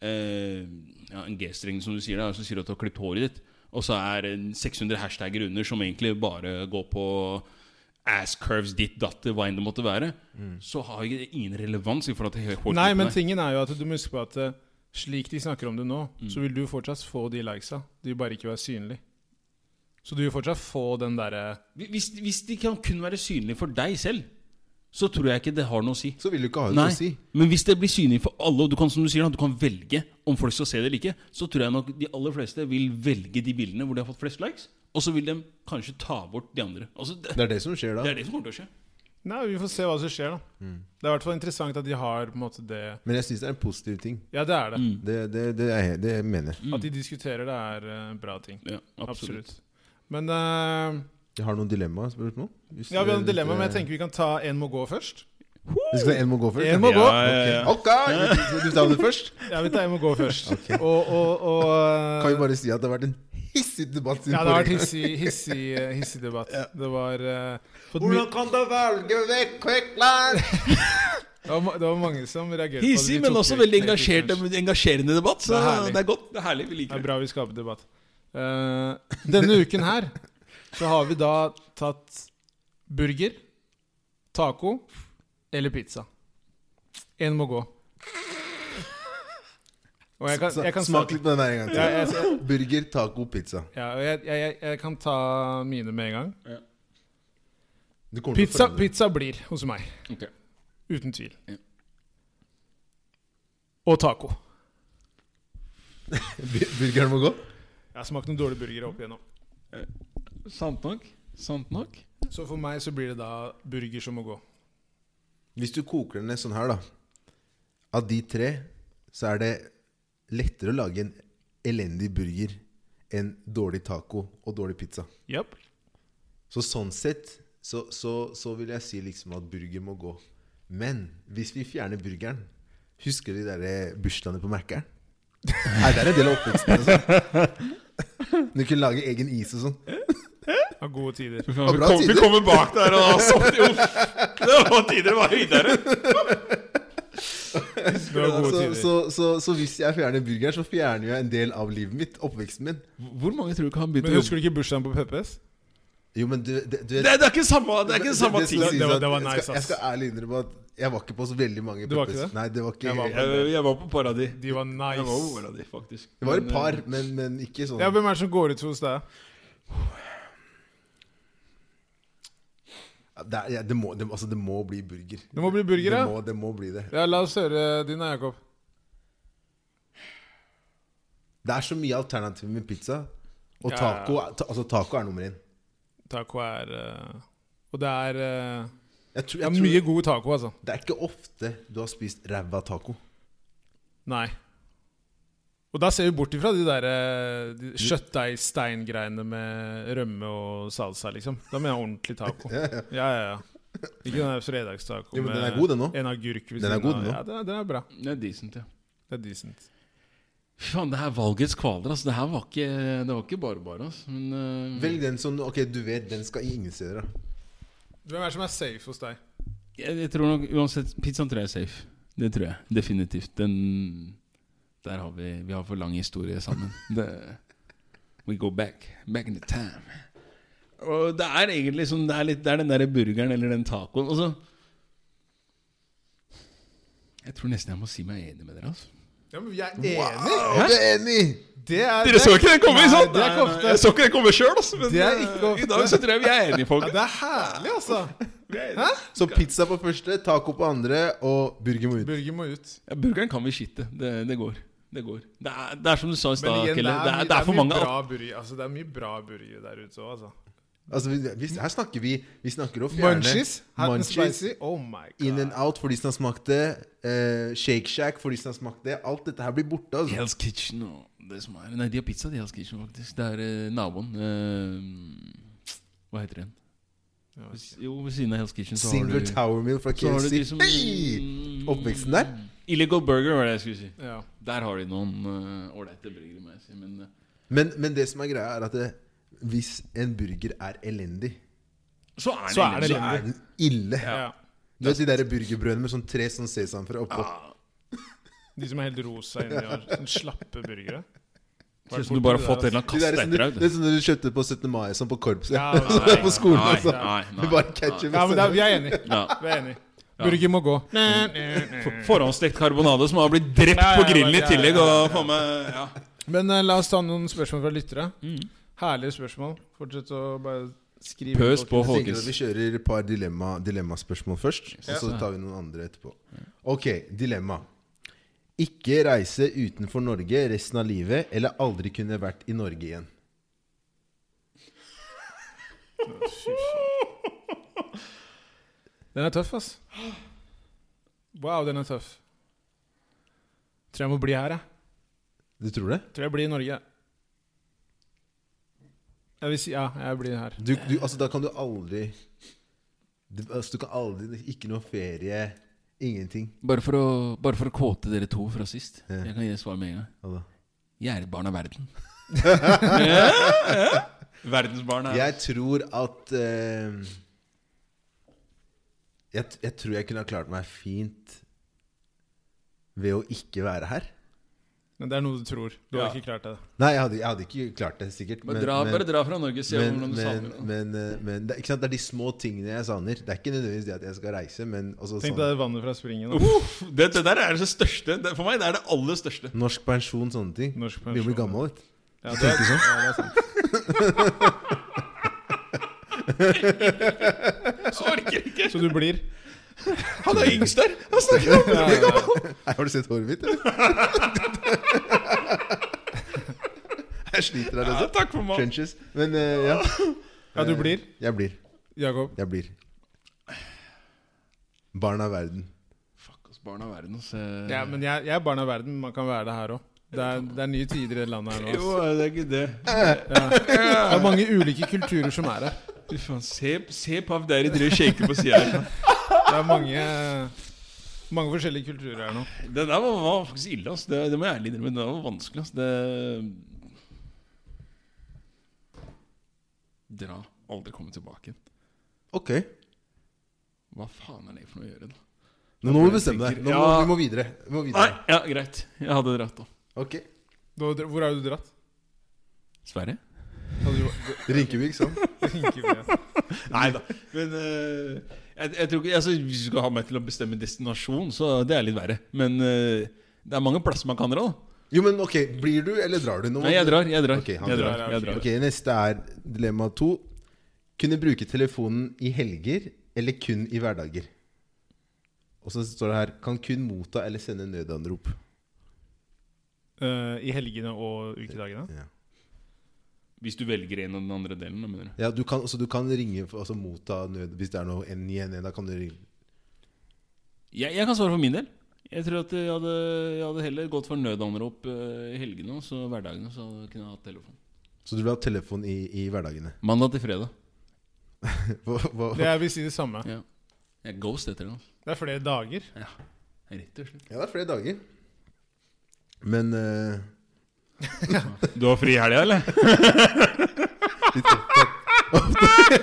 Speaker 1: eh, ja, en G-streng, som du sier, da så sier du at du har klippet håret ditt, og så er det 600 hashtagger under som egentlig bare går på ass curves, ditt, datt, hva enn det måtte være, så har jo det ingen relevans i forhold til hårklippet.
Speaker 2: Mm. Nei, men tingen er jo at du må huske på at eh, slik de snakker om det nå,
Speaker 1: Mm.
Speaker 2: så vil du fortsatt få de likesa. De vil bare ikke være synlig. Så du vil fortsatt få den derre
Speaker 1: hvis, hvis de kan kun være synlige for deg selv, så tror jeg ikke det har noe å si.
Speaker 3: Så vil du ikke ha noe
Speaker 1: Nei,
Speaker 3: å si.
Speaker 1: men hvis det blir synlig for alle, og du kan, som du sier, da, du kan velge om folk skal se det eller ikke, så tror jeg nok de aller fleste vil velge de bildene hvor de har fått flest likes, og så vil de kanskje ta bort de andre. Altså, det,
Speaker 3: Det er det som skjer da.
Speaker 1: det er det som kommer til å skje.
Speaker 2: Nei, vi får se hva som skjer, da.
Speaker 3: Mm.
Speaker 2: Det er i hvert fall interessant at de har på en måte det
Speaker 3: Men jeg syns det er en positiv ting.
Speaker 2: Ja, det er
Speaker 1: Mm,
Speaker 2: det.
Speaker 3: Det, det, det, er, det mener jeg.
Speaker 2: At de diskuterer det, er eh, en bra ting.
Speaker 1: Ja, mm. absolutt.
Speaker 2: Absolutt. Men eh,
Speaker 3: Jeg har noen dilemmaer. Spørsmål? Hvis
Speaker 2: Ja, vi har
Speaker 3: det-
Speaker 2: et dilemma, men jeg tenker vi kan ta en må gå først.
Speaker 3: Vi skal en må gå først?
Speaker 2: En
Speaker 3: ja.
Speaker 2: må gå!
Speaker 1: Ja, ja, ja.
Speaker 3: Ok! Du tar det først?
Speaker 2: Ja, vi tar en må gå først. Og, og, og eh,
Speaker 3: Kan vi bare si at det har vært en hissig debatt siden
Speaker 2: Ja, det har vært hissig, hissig, eh, hissig debatt. Det var eh, fått mye-
Speaker 3: kan du velge vekk Kvekkland?
Speaker 2: Det var, ma- det var mange som reagerte
Speaker 1: Hissig, men også veldig engasjert,
Speaker 2: Det
Speaker 1: engasjerende debatt. Så
Speaker 2: Det
Speaker 1: det
Speaker 2: er
Speaker 1: er,
Speaker 2: herlig.
Speaker 1: godt. Det er herlig. Vi
Speaker 2: er
Speaker 1: liker det.
Speaker 2: bra vi skaper debatt. Eh, denne uken her så har vi da tatt burger, taco eller pizza. Én må gå. Og jeg kan, jeg kan
Speaker 3: Smak
Speaker 2: starte-
Speaker 3: litt på den der en gang
Speaker 2: Ja, jeg,
Speaker 3: til. Burger, taco, pizza.
Speaker 2: ja, og jeg, jeg, jeg, jeg kan ta mine med en gang.
Speaker 3: Du kommer til å
Speaker 2: Pizza,
Speaker 3: forandre.
Speaker 2: pizza blir hos meg.
Speaker 1: Ok.
Speaker 2: Uten tvil.
Speaker 1: Ja.
Speaker 2: Og taco.
Speaker 3: Bu- Burgeren må gå?
Speaker 2: Jeg har smakt noen dårlige burgere opp igjennom.
Speaker 1: Sant nok. Sant nok.
Speaker 2: Så for meg så blir det da burger som må gå.
Speaker 3: Hvis du koker den ned sånn her, da Av de tre så er det lettere å lage en elendig burger enn dårlig taco og dårlig pizza.
Speaker 2: Japp.
Speaker 3: Så sånn sett så, så, så vil jeg si liksom at burger må gå. Men hvis vi fjerner burgeren Husker du de der eh, bursdagene på Mækkern? Nei, det er en del av oppveksten. Altså. Du kunne lage egen is og sånn.
Speaker 2: Av gode tider.
Speaker 1: Vi
Speaker 3: bra
Speaker 1: kom- vi
Speaker 3: tider.
Speaker 1: kommer bak der og har sovet i Uff. Det var tider det var høydere.
Speaker 2: Det var gode
Speaker 3: Så,
Speaker 2: tider.
Speaker 3: så, så, så hvis jeg fjerner burgeren, så fjerner jeg en del av livet mitt. Oppveksten min.
Speaker 1: Hvor mange tror du ikke han
Speaker 2: Men husker du ikke bursdagen på Peppes?
Speaker 3: Jo, men du, det, du
Speaker 4: Det, det er ikke samme, det er ikke samme
Speaker 3: det- det
Speaker 4: ting.
Speaker 3: skal
Speaker 2: Det- det var-
Speaker 3: sies
Speaker 2: det var
Speaker 3: at
Speaker 2: nice,
Speaker 3: jeg, skal, jeg
Speaker 2: ass.
Speaker 3: skal ærlig innrømme at jeg var ikke på så veldig mange
Speaker 2: Du var ikke
Speaker 3: peppers.
Speaker 2: det?
Speaker 3: Nei, det var ikke
Speaker 2: Jeg var på-
Speaker 3: Det
Speaker 4: Jeg, jeg var på Paradis.
Speaker 2: De var
Speaker 4: Jeg var på
Speaker 2: nice.
Speaker 4: Paradis, faktisk.
Speaker 3: var et par, men, eh, men ikke sånn
Speaker 2: eh, Ja, Hvem er det som går ut hos deg?
Speaker 3: det, er, ja, det, må, det, altså, det må bli burger.
Speaker 2: Det må bli burger,
Speaker 3: Det
Speaker 2: ja.
Speaker 3: må, det må bli det.
Speaker 2: ja. La oss høre din, da, Jakob.
Speaker 3: Det er så mye alternativer med pizza. Og
Speaker 2: Ja, ja.
Speaker 3: taco, ta, altså, taco er nummer én.
Speaker 2: Taco er eh, Og det er, eh,
Speaker 3: Jeg tror,
Speaker 2: det
Speaker 3: jeg
Speaker 2: er
Speaker 3: tror,
Speaker 2: mye god taco, altså.
Speaker 3: Det er ikke ofte du har spist ræva taco.
Speaker 2: Nei. Og da ser vi bort ifra de der eh, de kjøttdeigsteingreiene med rømme og salsa, liksom. Da mener jeg ordentlig taco. ja, ja, ja. Ikke den der fredagstaco
Speaker 3: Jo, men den er god, den nå.
Speaker 2: en agurk ved
Speaker 3: Den er
Speaker 2: siden av.
Speaker 3: god, den nå.
Speaker 2: Ja, den er, den er bra.
Speaker 1: Det er decent, ja.
Speaker 2: Det er decent.
Speaker 1: Fy faen, det her valgets kvaler, altså. Det her var ikke Det var ikke bare bare, altså. Men eh,
Speaker 3: Velg den som Ok, du vet den skal ingen steder. da.
Speaker 2: Hvem er det som er safe hos deg?
Speaker 1: jeg, jeg tror nok uansett Pizzaen tror jeg er safe. Det tror jeg definitivt. Den Der har vi Vi har for lang historie sammen. Det, we go back. Back in the time. Og det er egentlig sånn Det er, litt, det er den der burgeren eller den tacoen. Altså Jeg tror nesten jeg må si meg enig med dere, altså.
Speaker 2: Ja, men Vi er enige!
Speaker 3: Wow, det er enig!
Speaker 2: Det er,
Speaker 4: Dere så ikke den komme, ikke
Speaker 2: Nei,
Speaker 4: sant?
Speaker 2: det er ikke ofte.
Speaker 4: Jeg så ikke den komme sjøl, altså. Men
Speaker 2: Det er ikke
Speaker 4: eh,
Speaker 2: ofte.
Speaker 4: i dag så tror jeg vi er enige, folk.
Speaker 2: Ja, det er herlig, altså! Hæ?
Speaker 3: Så pizza på første, taco på andre og burger må ut.
Speaker 2: Burger må ut.
Speaker 1: Ja, burgeren kan vi skitte. Det, det går. Det går. Det er, det er som du sa i
Speaker 2: Men
Speaker 1: stad,
Speaker 2: igjen,
Speaker 1: Kelle.
Speaker 2: det er,
Speaker 1: Det er,
Speaker 2: mye-
Speaker 1: det er for
Speaker 2: mye
Speaker 1: mange
Speaker 2: bra burger, altså, det er mye bra burger der ute òg, altså.
Speaker 3: Altså, vi, vi, her snakker vi Vi snakker om å fjerne
Speaker 2: Munchies? Hot and
Speaker 3: munchies,
Speaker 2: spicy? Oh my god.
Speaker 3: In and out for de som har smakt det. eh, Shake Shack for de som har smakt det. Alt dette her blir borte. Altså.
Speaker 1: Hell's Kitchen og det som er Nei, de har pizza, de Hell's Kitchen, faktisk. Det er eh, naboen eh, Hva heter den?
Speaker 2: Ja, ok.
Speaker 1: Jo, ved siden av Hell's Kitchen så har
Speaker 3: Singler
Speaker 1: du
Speaker 3: Tower Mill fra
Speaker 1: så har du
Speaker 3: KFC.
Speaker 1: de som
Speaker 3: Hei! Oppveksten der?
Speaker 1: Illegal Burger, var det jeg skulle si.
Speaker 2: Ja.
Speaker 1: Der har de noen eh, ålreite burgere, må jeg si. Men eh,
Speaker 3: Men, men det som er greia, er at det, hvis en burger er elendig,
Speaker 1: så er det,
Speaker 2: Så er
Speaker 1: ille-
Speaker 2: det
Speaker 3: så er den ille.
Speaker 2: ja.
Speaker 3: Du vet de der burgerbrødene med sånn tre sånn sesamfrø oppå?
Speaker 1: Ah,
Speaker 2: De som er helt rosa inni og sånn slappe burgere.
Speaker 1: Ser ut som du bare har fått en eller annen
Speaker 3: De der,
Speaker 1: kaste
Speaker 3: som du-
Speaker 1: etter
Speaker 3: det er
Speaker 1: deg.
Speaker 3: sånn du kjøpte på 17. mai sånn på korpset.
Speaker 2: Ja,
Speaker 3: Sånn
Speaker 2: nei,
Speaker 3: på skolen,
Speaker 1: nei,
Speaker 3: altså.
Speaker 1: nei, nei,
Speaker 3: Med bare ketchup.
Speaker 2: Ja, men da,
Speaker 3: og
Speaker 2: vi er enige.
Speaker 1: du. altså. Ja.
Speaker 2: Vi er enige. Burger må gå.
Speaker 1: Forhåndsstekt karbonade som har blitt drept
Speaker 2: Ja, ja,
Speaker 1: på grillen i
Speaker 2: ja, ja,
Speaker 1: tillegg.
Speaker 2: ja,
Speaker 1: Og faen meg ja.
Speaker 2: Men eh, la oss ta noen spørsmål fra lyttere.
Speaker 1: Mm.
Speaker 2: Herlige spørsmål. Fortsett å bare skrive.
Speaker 1: Pøs på.
Speaker 3: sånn. Jeg tenker at Vi kjører et par dilemma, dilemmaspørsmål først, og så tar vi noen andre etterpå. Ok, dilemma. Ikke reise utenfor Norge resten av livet, eller aldri kunne vært i Norge igjen.
Speaker 2: Den er tøff, ass. Wow, den er tøff. Tror jeg må bli her, jeg.
Speaker 3: Du tror det?
Speaker 2: Tror jeg blir i Norge. Jeg vil si ja, jeg blir her.
Speaker 3: Du, du, altså, da kan du aldri du, altså, du kan aldri Ikke noe ferie, ingenting.
Speaker 1: Bare for, å, bare for å kåte dere to fra sist. Jeg kan gi et svar med en gang.
Speaker 3: Hva da?
Speaker 1: Jeg er et barn av verden. Verdensbarn er
Speaker 3: Jeg tror at eh, jeg, jeg tror jeg kunne ha klart meg fint ved å ikke være her.
Speaker 2: Men det er noe du tror. Du
Speaker 1: Ja.
Speaker 2: har ikke klart det.
Speaker 3: Nei, jeg hadde, jeg hadde ikke klart det, sikkert.
Speaker 1: bare, dra, bare dra fra Norge, se
Speaker 3: men,
Speaker 1: hvordan du
Speaker 3: men,
Speaker 1: savner det.
Speaker 3: men, eh, men det, er- ikke sant? det er de små tingene jeg savner. Det er ikke nødvendigvis det at jeg skal reise, men også
Speaker 2: Tenk
Speaker 3: sånn,
Speaker 2: deg vannet fra springen. da.
Speaker 4: Uff, det, det der er det største. Det, for meg det er det aller største.
Speaker 3: norsk pensjon, sånne ting.
Speaker 2: Norsk
Speaker 3: Vi blir
Speaker 2: pensjon.
Speaker 3: gammel, sånn.
Speaker 2: Ja,
Speaker 3: vet du.
Speaker 2: det, er- ja, det er sant.
Speaker 4: Jeg orker ikke!
Speaker 2: Så du blir?
Speaker 4: Han er yngst der! Han snakker om
Speaker 2: Ja, ja, ja.
Speaker 3: Nei, Har du sett håret mitt, eller? jeg sliter her,
Speaker 4: ja,
Speaker 3: altså.
Speaker 4: Takk for meg.
Speaker 3: Trenches. Men eh, ja, Eh,
Speaker 2: ja, du blir?
Speaker 3: jeg blir.
Speaker 2: Jakob?
Speaker 3: Jeg blir. Barn av verden.
Speaker 1: Fuck oss, barn av verden. ass.
Speaker 3: Eh.
Speaker 2: Ja, men jeg, jeg er barn av verden. Man kan være det her òg. Det, er- det er nye tider i det landet her nå.
Speaker 4: Jo,
Speaker 2: ass.
Speaker 4: det er ikke det.
Speaker 2: Det er mange ulike kulturer som er her.
Speaker 4: Fy faen, se, se Pav Deri driver og shaker på sida her.
Speaker 2: Det er mange, mange forskjellige kulturer her nå.
Speaker 1: Det der var, var faktisk ille, ass. Det, det må jeg ærlig innrømme. Det var vanskelig, ass. Det Dra. Aldri komme tilbake.
Speaker 3: Ok.
Speaker 1: Hva faen er det for noe å gjøre, da?
Speaker 3: Nå må du bestemme deg. Nå må,
Speaker 1: Ja.
Speaker 3: vi må videre. Vi må
Speaker 1: Nei,
Speaker 3: videre.
Speaker 1: ja, greit. Jeg hadde dratt, da.
Speaker 3: Ok.
Speaker 2: Du har dra- Hvor har du dratt?
Speaker 1: Sverige?
Speaker 2: Hadde du-
Speaker 3: Rinkebygg, sånn.
Speaker 4: Nei da. Men eh, jeg, jeg tror ikke altså, Hvis du skal ha meg til å bestemme destinasjon, så det er litt verre. Men eh, det er mange plasser man kan dra. da
Speaker 3: Jo, men ok, blir du, eller drar du? Nå må
Speaker 1: Nei, jeg
Speaker 3: du-
Speaker 1: drar. Jeg drar.
Speaker 3: Ok, han
Speaker 1: jeg
Speaker 3: drar,
Speaker 1: drar, jeg drar.
Speaker 3: Ok, Neste er dilemma to. Kunne bruke telefonen i helger eller kun i hverdager? Og så står det her Kan kun motta eller sende nødanrop.
Speaker 2: Eh, I helgene og ukedagene?
Speaker 3: Ja,
Speaker 1: Hvis du velger en av den andre delen, da, mener du?
Speaker 3: ja du, kan, altså, du kan ringe for- altså, motta nød hvis det er noe N igjen. Da kan du ringe.
Speaker 1: Jeg, jeg kan svare for min del. Jeg tror at jeg hadde, jeg hadde heller gått for nødanrop eh, i helgene og så hverdagene. Så kunne jeg hatt telefon.
Speaker 3: Så du vil ha telefon i, i hverdagene.
Speaker 1: Mandag til fredag.
Speaker 3: Hva, hva?
Speaker 2: Det, jeg vil si det samme.
Speaker 1: Ja. Jeg er ghost etter det. altså.
Speaker 2: Det er flere dager.
Speaker 1: Rett og slett.
Speaker 3: Ja, det er flere dager. Men eh,
Speaker 4: Du har fri i helga, eller?
Speaker 3: litt opptatt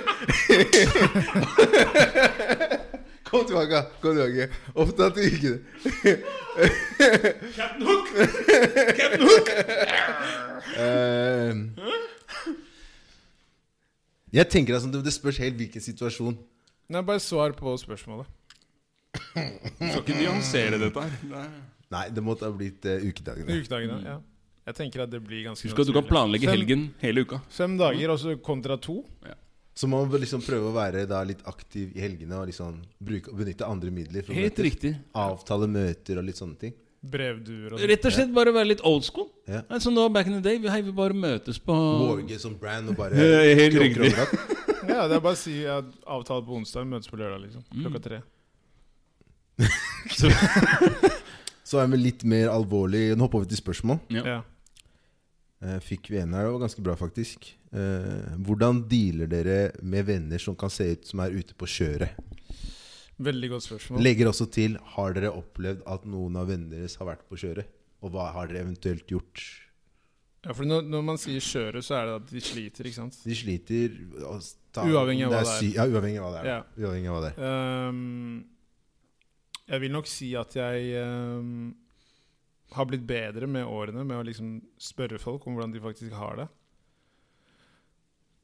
Speaker 3: Kom tilbake, kom tilbake. Opptatt i ukene.
Speaker 4: Captain Hook!
Speaker 3: Eh, jeg tenker altså, det- Det spørs helt hvilken situasjon.
Speaker 2: Nei, bare svar på spørsmålet.
Speaker 4: Du skal ikke nyansere dette her. Det er-
Speaker 3: Nei, det måtte ha blitt eh, ukedagene.
Speaker 2: Ukedagene, ja. Jeg tenker at det blir ganske
Speaker 1: Mm. Husk at du kan
Speaker 2: naturlig.
Speaker 1: planlegge
Speaker 2: Fem-
Speaker 1: helgen hele uka.
Speaker 2: Fem dager, og så kontra to.
Speaker 3: Så man må liksom prøve å være da, litt aktiv i helgene og liksom bruke, benytte andre midler. For å
Speaker 1: Helt
Speaker 3: møtes.
Speaker 1: riktig.
Speaker 3: Avtale møter og litt sånne ting.
Speaker 2: Brevduer og sånn. sånt.
Speaker 1: Rett og slett bare være litt old school.
Speaker 3: Ja.
Speaker 1: Nei, Som det var back in the day. Vi, hei, vi bare møtes på
Speaker 3: Morge som brand og bare
Speaker 4: Eh, helt
Speaker 3: kroker
Speaker 4: riktig.
Speaker 3: overalt.
Speaker 2: Ja, det er bare å si at avtale på onsdag, møtes på lørdag, liksom.
Speaker 1: Mm.
Speaker 2: Klokka tre.
Speaker 3: Så er vi litt mer alvorlig Nå hopper vi til spørsmål.
Speaker 1: Ja.
Speaker 2: Ja.
Speaker 3: Eh, Fikk vi en her, det var ganske bra, faktisk. Eh, hvordan dealer dere med venner som kan se ut som er ute på kjøret?
Speaker 2: Veldig godt spørsmål.
Speaker 3: Legger også til Har dere opplevd at noen av vennene deres har vært på kjøret? Og hva har dere eventuelt gjort?
Speaker 2: Ja, for når, når man sier kjøre, så er det at de sliter, ikke sant?
Speaker 3: De sliter og tar-
Speaker 2: Uavhengig av hva
Speaker 3: er
Speaker 2: det er.
Speaker 3: sy- Ja, uavhengig av hva det er. Uavhengig av hva det er.
Speaker 2: Ehm, jeg vil nok si at jeg ehm, har blitt bedre med årene med å liksom spørre folk om hvordan de faktisk har det.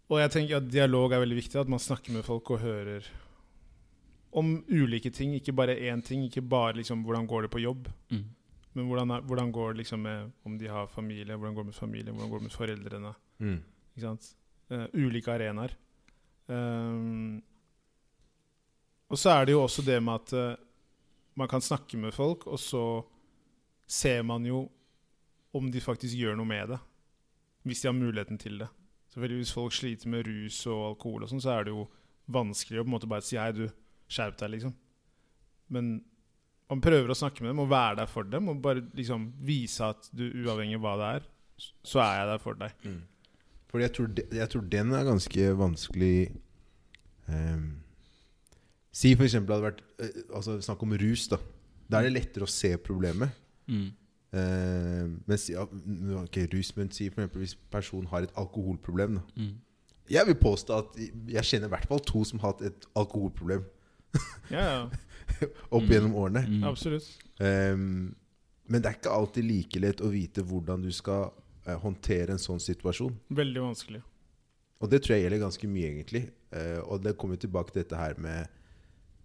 Speaker 2: Og jeg tenker at dialog er veldig viktig, at man snakker med folk og hører om ulike ting, ikke bare én ting, ikke bare liksom hvordan går det på jobb,
Speaker 1: Mm.
Speaker 2: men hvordan, er, hvordan går det liksom med om de har familie, hvordan går det med familie, hvordan går det med foreldrene.
Speaker 3: Mm.
Speaker 2: Ikke sant? Eh, ulike arenaer. Ehm, og så er det jo også det med at eh, man kan snakke med folk, og så ser man jo om de faktisk gjør noe med det. Hvis de har muligheten til det. Selvfølgelig Hvis folk sliter med rus og alkohol, og sånn, så er det jo vanskelig å på en måte bare si 'hei, du, skjerp deg', liksom. Men man prøver å snakke med dem og være der for dem, og bare liksom vise at du, uavhengig av hva det er, s- så er jeg der for deg.
Speaker 3: mm. Fordi jeg tror, de, jeg tror den er ganske vanskelig ehm, Si for eksempel hadde vært eh, altså Snakk om rus, da. Da er det lettere å se problemet.
Speaker 1: Mm.
Speaker 3: Eh, men si, ja, nå er det ikke rus, men si for eksempel hvis personen har et alkoholproblem. Da.
Speaker 1: Mm.
Speaker 3: Jeg vil påstå at jeg kjenner i hvert fall to som har hatt et alkoholproblem
Speaker 2: Ja, ja.
Speaker 3: opp
Speaker 1: Mm.
Speaker 3: gjennom årene.
Speaker 1: Mm.
Speaker 2: Absolutt.
Speaker 3: Ehm, men det er ikke alltid like lett å vite hvordan du skal eh, håndtere en sånn situasjon.
Speaker 2: Veldig vanskelig.
Speaker 3: Og det tror jeg gjelder ganske mye, egentlig. Eh, og det kommer jo tilbake til dette her med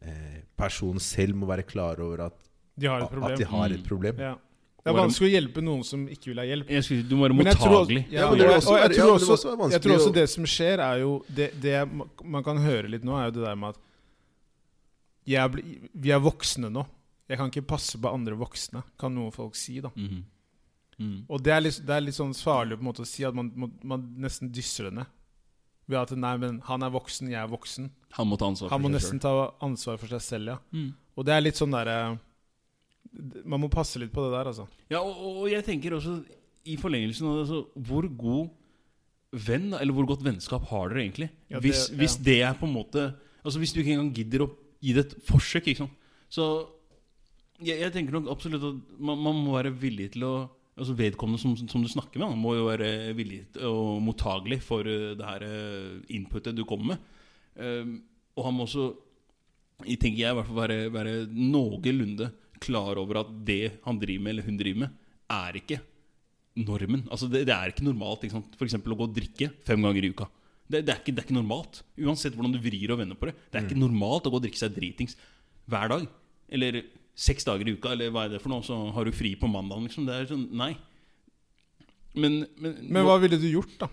Speaker 3: eh, Personen selv må være klar over at,
Speaker 2: De har et
Speaker 3: at
Speaker 2: problem.
Speaker 3: de har et
Speaker 1: Mm.
Speaker 3: problem.
Speaker 2: Ja. Det er vanskelig å hjelpe noen som ikke vil ha hjelp.
Speaker 1: Jeg skulle, si, du må være
Speaker 2: Men jeg tror-
Speaker 1: mottagelig.
Speaker 2: Ja,
Speaker 3: men
Speaker 2: og jeg-
Speaker 3: vil også
Speaker 2: og jeg
Speaker 3: være-
Speaker 2: tror
Speaker 3: ja, men det vil
Speaker 2: også-
Speaker 3: være vanskelig
Speaker 2: Jeg tror også
Speaker 3: å-
Speaker 2: det som skjer, er jo Det, det jeg- man kan høre litt nå, er jo det der med at jeg blir- Vi er voksne nå. Jeg kan ikke passe på andre voksne, kan noen folk si, da.
Speaker 1: Mhm. Mm.
Speaker 2: Og det er litt, det er litt sånn farlig på en måte å si at man, man, man nesten dysser det ned. Ved at nei, men han er voksen, jeg er voksen.
Speaker 1: Han må ta ansvar
Speaker 2: Han må
Speaker 1: for
Speaker 2: nesten ta ansvar for seg selv, ja.
Speaker 1: Mm.
Speaker 2: Og det er litt sånn derre Man må passe litt på det der, altså.
Speaker 1: Ja, og, og- og jeg tenker også i forlengelsen av det, altså, hvor god venn, da, eller hvor godt vennskap har dere egentlig?
Speaker 2: Ja, det-
Speaker 1: hvis, hvis
Speaker 2: ja.
Speaker 1: det er på en måte Altså Hvis du ikke engang gidder å gi det et forsøk, ikke sant. Så jeg, jeg tenker nok absolutt at man, man må være villig til å Altså Vedkommende som, som du snakker med, han må jo være villig til- og mottagelig for eh, det her eh, inputet du kommer med. Ehm, og han må også, jeg tenker jeg, i hvert fall være, være noenlunde klar over at det han driver med, eller hun driver med, er ikke normen. Altså Det, det er ikke normalt. Ikke sant? For eksempel å gå og drikke fem ganger i uka.
Speaker 4: Det, det, er ikke, det er ikke normalt. Uansett hvordan du vrir og vender på det. Det er
Speaker 2: Mm.
Speaker 4: ikke normalt å gå og drikke seg dritings hver dag. Eller seks dager i uka, eller hva er det for noe. Så har du fri på mandagen, liksom. Det er sånn, nei. Men, men,
Speaker 2: Men hva ville du gjort, da?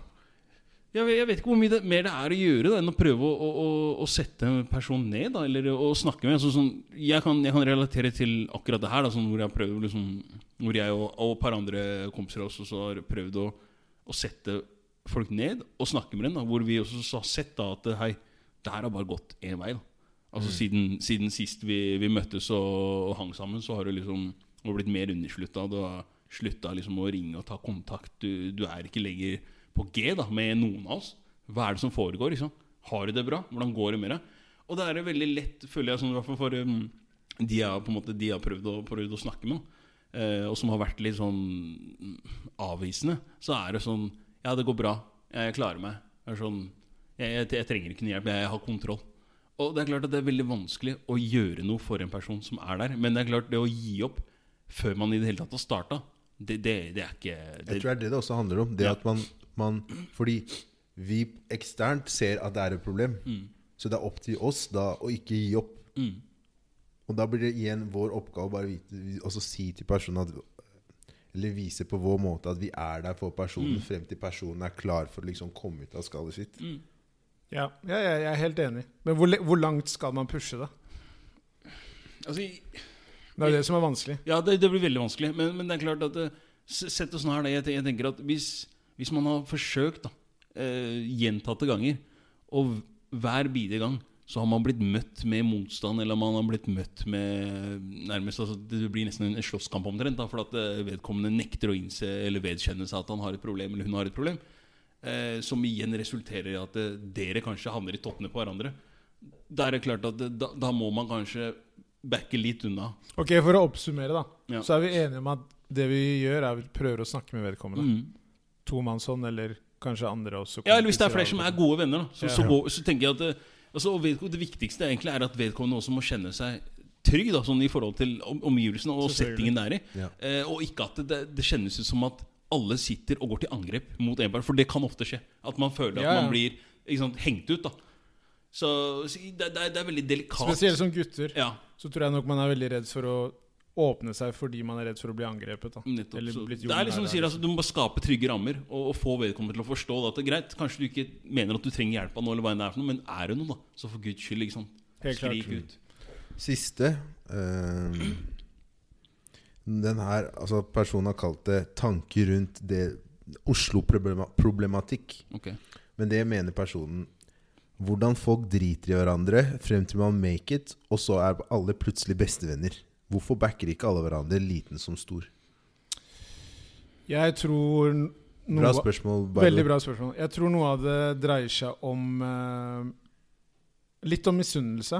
Speaker 4: jeg, vet- jeg vet ikke hvor mye det, mer det er å gjøre da, enn å prøve å, å, å, å sette en person ned, da, eller å snakke med. Altså, sånn, jeg, kan, jeg kan relatere til akkurat det her, da, sånn, hvor jeg, prøver, liksom, hvor jeg og, og et par andre kompiser også så har prøvd å, å sette folk ned og snakke med dem. Da, hvor vi også så har sett da, at hei, det her har bare gått én vei. Da. Altså siden, siden sist vi, vi møttes og, og hang sammen, så har det liksom det har blitt mer underslutta. Du har slutta liksom å ringe og ta kontakt. Du, du er ikke lenger på G da, med noen av oss. Hva er det som foregår? Liksom? Har du det bra? Hvordan går det med deg? Og det er veldig lett, føler jeg, sånn, i hvert fall for um, de jeg har på en måte, de jeg har prøvd å, prøvd å snakke med, da, eh, og som har vært litt sånn mm, avvisende, så er det sånn Ja, det går bra. Jeg klarer meg. Det er sånn, jeg, jeg, jeg trenger ikke noe hjelp. Jeg har kontroll. Og det er klart at det er veldig vanskelig å gjøre noe for en person som er der. Men det er klart det å gi opp før man i det hele tatt har starta, det, det, det er ikke Eh, det,
Speaker 3: Jeg tror det er det det også handler om. Det
Speaker 4: Ja.
Speaker 3: at man, man Fordi vi eksternt ser at det er et problem.
Speaker 4: Mm.
Speaker 3: Så det er opp til oss da å ikke gi opp. Og da blir det igjen vår oppgave å bare vite, også si til personen at Eller vise på vår måte at vi er der for personen
Speaker 4: Mm.
Speaker 3: frem til personen er klar for å liksom komme ut av skallet sitt.
Speaker 2: Ja, ja, ja jeg er helt enig. Men hvor, le- hvor langt skal man pushe, da?
Speaker 4: Altså,
Speaker 2: Det er jo det som er vanskelig.
Speaker 4: Ja, det, det blir veldig vanskelig. Men, men det er klart at eh, s- Sett og sånn her, det, jeg, te- jeg tenker at hvis, hvis man har forsøkt da, eh, gjentatte ganger, og v- hver bidige gang så har man blitt møtt med motstand, eller man har blitt møtt med nærmest, altså Det blir nesten en slåsskamp omtrent, da, for at eh, vedkommende nekter å innse eller vedkjenne seg at han har et problem, eller hun har et problem. Eh, som igjen resulterer i at eh, dere kanskje havner i tottene på hverandre. Da er det klart at eh, da, da må man kanskje backe litt unna.
Speaker 2: Ok, For å oppsummere, da.
Speaker 4: Ja.
Speaker 2: Så er vi enige om at det vi gjør, er vi prøver å snakke med vedkommende.
Speaker 4: Mm.
Speaker 2: Tomannshånd, eller kanskje andre også.
Speaker 4: Ja, eller hvis det er
Speaker 2: kompiser,
Speaker 4: flere som er gode venner, da, så,
Speaker 2: Ja.
Speaker 4: så, går, så tenker jeg at eh, altså, og vedko- Det viktigste er egentlig er at vedkommende også må kjenne seg trygg da, sånn i forhold til om- omgivelsene og
Speaker 2: Selvfølgelig.
Speaker 4: settingen det er i.
Speaker 3: Ja.
Speaker 4: Eh, og ikke at det, det kjennes ut som at alle sitter og går til angrep mot en person, for det kan ofte skje. At man føler at
Speaker 2: Ja, ja.
Speaker 4: man blir ikke sant, hengt ut. da Så, så det, det, er, det er veldig delikat.
Speaker 2: Spesielt som gutter,
Speaker 4: Ja,
Speaker 2: så tror jeg nok man er veldig redd for å åpne seg fordi man er redd for å bli angrepet. da
Speaker 4: nettopp.
Speaker 2: Eller
Speaker 4: Så
Speaker 2: blitt
Speaker 4: Det er liksom du
Speaker 2: jordnær,
Speaker 4: sier, altså, du må bare skape trygge rammer og, og få vedkommende til å forstå da, at det er greit. Kanskje du ikke mener at du trenger hjelp av noe, eller hva enn det er for noe, men er det noe, da, så for guds skyld, ikke sant.
Speaker 2: Helt klart.
Speaker 4: Skrik ut.
Speaker 3: Siste eh, Den her Altså, personen har kalt det 'tanker rundt det Oslo-problematikk'.
Speaker 4: Ok.
Speaker 3: Men det mener personen. Hvordan folk driter i hverandre frem til man make it, og så er alle plutselig bestevenner. Hvorfor backer ikke alle hverandre, liten som stor?
Speaker 2: Jeg tror n- noe
Speaker 3: Bra spørsmål. by the way.
Speaker 2: Veldig bra spørsmål. Jeg tror noe av det dreier seg om eh, Litt om misunnelse.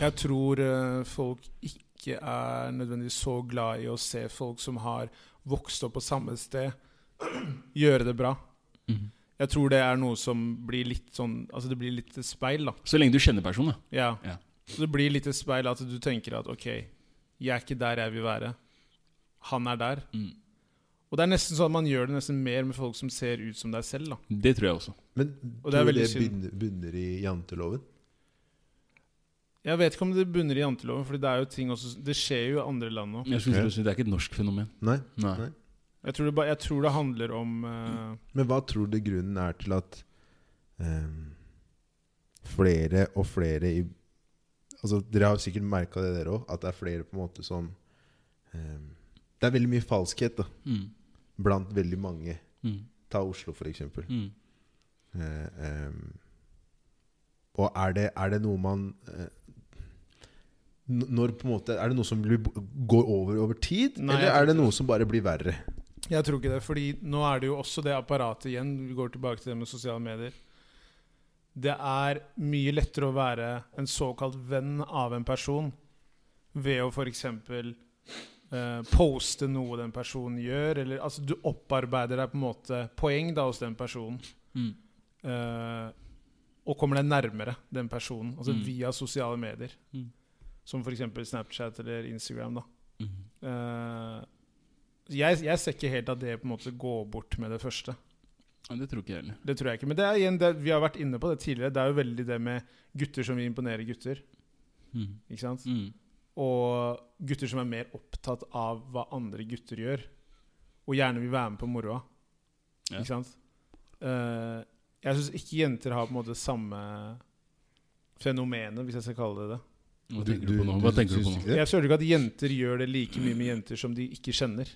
Speaker 2: Jeg tror eh, folk ikke er nødvendigvis så glad i å se folk som har vokst opp på samme sted, gjøre det bra.
Speaker 4: Mhm.
Speaker 2: Jeg tror det er noe som blir litt sånn Altså det blir litt speil, da.
Speaker 4: Så lenge du kjenner personen, da.
Speaker 2: Ja.
Speaker 4: Ja.
Speaker 2: Så det blir litt speil at du tenker at OK, jeg er ikke der jeg vil være. Han er der. Og det er nesten sånn at man gjør det nesten mer med folk som ser ut som deg selv. da.
Speaker 4: Det tror jeg også.
Speaker 3: Men
Speaker 2: Og det er
Speaker 3: tror du
Speaker 2: veldig
Speaker 3: det
Speaker 2: synd.
Speaker 3: bunner, bunner i janteloven?
Speaker 2: Jeg vet ikke om det bunner i janteloven, for det er jo ting også, det skjer jo i andre land òg.
Speaker 4: Jeg
Speaker 3: Ok.
Speaker 4: synes Det er ikke et norsk fenomen.
Speaker 3: Nei?
Speaker 4: Nei.
Speaker 3: Nei.
Speaker 2: Jeg, tror det ba- jeg tror det handler om eh,
Speaker 3: Men hva tror du grunnen er til at ehm, flere og flere i Altså, dere har sikkert merka det, dere òg, at det er flere på en måte som ehm, Det er veldig mye falskhet da,
Speaker 4: Mm.
Speaker 3: blant veldig mange.
Speaker 4: Mm.
Speaker 3: Ta Oslo, for eksempel.
Speaker 4: Mm.
Speaker 3: Eh, ehm, og er det, er det noe man eh, n- Når på en måte Er det noe som blir, går over over tid,
Speaker 2: Nei, jeg
Speaker 3: eller
Speaker 2: tror
Speaker 3: er det noe som bare blir verre?
Speaker 2: Jeg tror ikke det, fordi nå er det jo også det apparatet igjen. Vi går tilbake til det med sosiale medier. Det er mye lettere å være en såkalt venn av en person ved å f.eks. Eh, poste noe den personen gjør, eller altså du opparbeider deg på en måte poeng da hos den personen.
Speaker 4: Mm.
Speaker 2: Eh, og kommer deg nærmere den personen, altså
Speaker 4: Mm.
Speaker 2: via sosiale medier.
Speaker 4: Mm.
Speaker 2: Som f.eks. Snapchat eller Instagram. da
Speaker 4: Mm.
Speaker 2: Eh, jeg, jeg ser ikke helt at det på en måte går bort med det første.
Speaker 1: Nei, det tror ikke jeg heller.
Speaker 2: Det tror jeg ikke. Men det er igjen det, vi har vært inne på det tidligere. Det er jo veldig det med gutter som vil imponere gutter.
Speaker 1: Mm.
Speaker 2: Ikke sant?
Speaker 1: Mm.
Speaker 2: Og gutter som er mer opptatt av hva andre gutter gjør. Og gjerne vil være med på moroa.
Speaker 1: Ja.
Speaker 2: Ikke sant? Eh, jeg syns ikke jenter har på en måte samme fenomenet, hvis jeg skal kalle det det.
Speaker 1: Hva tenker du på nå? Hva tenker du på
Speaker 3: syns
Speaker 1: nå?
Speaker 3: ikke det?
Speaker 2: Jeg føler ikke at jenter gjør det like mye med jenter som de ikke kjenner.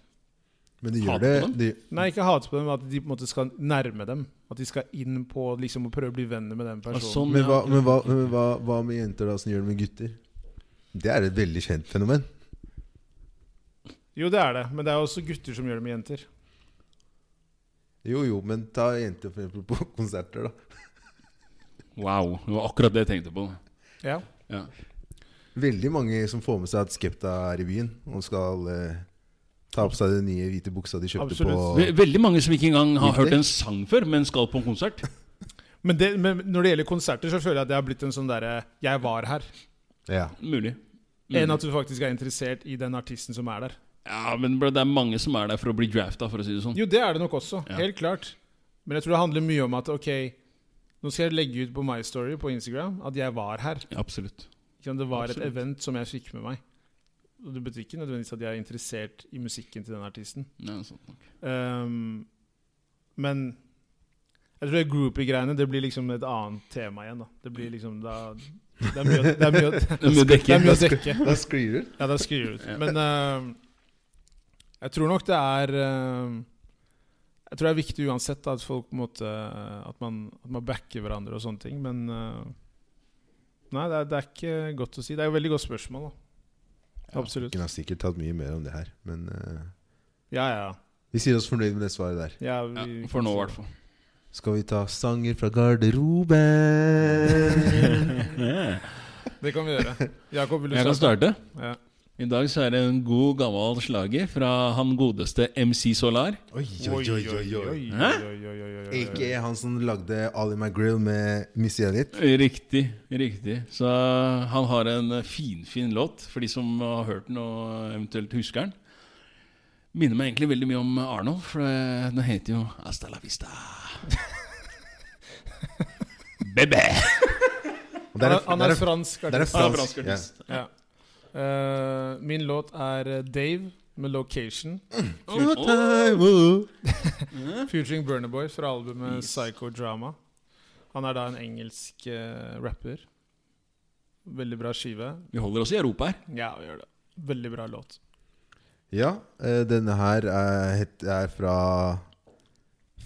Speaker 3: Men de
Speaker 1: Hat på
Speaker 3: gjør det.
Speaker 1: dem?
Speaker 3: De,
Speaker 2: Nei, ikke hate på dem, men at de på en måte skal nærme dem. At de skal inn på liksom å prøve å bli venner med den
Speaker 1: Ah,
Speaker 2: personen.
Speaker 1: sånn,
Speaker 3: men
Speaker 1: ja,
Speaker 3: hva,
Speaker 1: ok.
Speaker 3: men hva, men hva, hva med jenter da som gjør det med gutter? Det er et veldig kjent fenomen.
Speaker 2: Jo, det er det, men det er også gutter som gjør det med jenter.
Speaker 3: Jo, jo, men ta jenter for eksempel på konserter, da.
Speaker 1: Wow. Det var akkurat det jeg tenkte på.
Speaker 2: Ja.
Speaker 1: Ja.
Speaker 3: Veldig mange som får med seg at Skepta er i byen og skal eh, ta på seg den nye hvite buksa de kjøpte
Speaker 2: Absolutt.
Speaker 1: Ve-
Speaker 3: på
Speaker 1: Veldig mange som ikke engang har
Speaker 3: Riktig.
Speaker 1: hørt en sang før, men skal på en konsert.
Speaker 2: Men, det, men når det gjelder konserter, så føler jeg at det har blitt en sånn derre 'jeg var her',
Speaker 3: Ja.
Speaker 1: Mulig. Mm.
Speaker 2: enn at du faktisk er interessert i den artisten som er der.
Speaker 1: Ja, men bro, det er mange som er der for å bli drafta, for å si det sånn.
Speaker 2: Jo, det er det nok også.
Speaker 1: Ja.
Speaker 2: Helt klart. Men jeg tror det handler mye om at ok, nå skal jeg legge ut på My Story på Instagram at jeg var her.
Speaker 1: Absolutt.
Speaker 2: Ikke sant? Det var
Speaker 1: Absolutt.
Speaker 2: et event som jeg fikk med meg. Og det betyr ikke nødvendigvis at jeg er interessert i musikken til den artisten.
Speaker 1: Ja, sånn. sant nok.
Speaker 2: Ehm, men jeg tror det groupie-greiene Det blir liksom et annet tema igjen. da Det blir liksom da, det, er mye, å- det, er mye, å-
Speaker 1: Det er mye å
Speaker 2: det er
Speaker 1: dekke.
Speaker 2: mye å dekke.
Speaker 3: Da sklir du.
Speaker 2: Ja, det er skrevet. Men ehm, jeg tror nok det er ehm, Jeg tror det er viktig uansett da, at folk på en måte At man, at man backer hverandre og sånne ting, men ehm, Nei, det er, det er ikke godt å si. Det er et veldig godt spørsmål, da.
Speaker 3: Ja,
Speaker 2: Absolutt.
Speaker 3: Kunne ha sikkert tatt mye mer om det her, men eh,
Speaker 2: Ja, ja.
Speaker 3: vi sier oss fornøyd med det svaret der.
Speaker 2: ja,
Speaker 1: Ja,
Speaker 2: vi-
Speaker 1: for nå, i hvert fall.
Speaker 3: Skal vi ta sanger fra garderoben?
Speaker 2: Det kan vi gjøre. Jakob, vil du
Speaker 1: Jeg kan starte.
Speaker 2: Ja.
Speaker 1: I dag så er det en god, gammel slager fra han godeste MC Solar.
Speaker 3: oi, oi, oi, oi, oi.
Speaker 1: Hæ?
Speaker 2: oi, oi, oi, oi, oi.
Speaker 3: Ikke han som lagde All in my grill med Missy Elliot.
Speaker 1: Riktig. riktig Så han har en finfin låt, for de som har hørt den og eventuelt husker den. Minner meg egentlig veldig mye om Arnold, for den heter jo Hasta la vista. Bebe!
Speaker 3: Og
Speaker 2: Han
Speaker 3: der
Speaker 2: er, han er
Speaker 3: der
Speaker 2: fransk
Speaker 3: der er
Speaker 2: artist.
Speaker 1: Han er fransk
Speaker 3: fransk. Ja.
Speaker 1: artist.
Speaker 2: Ja. Eh, min låt er eh, Dave med 'Location'.
Speaker 3: All time, oh.
Speaker 2: Featuring Burner Boy fra albumet Psychodrama. Han er da en engelsk eh, rapper. Veldig bra skive.
Speaker 1: Vi holder oss i Europa her.
Speaker 2: Ja, vi gjør det. Veldig bra låt.
Speaker 3: Ja, eh, denne her er, het- er fra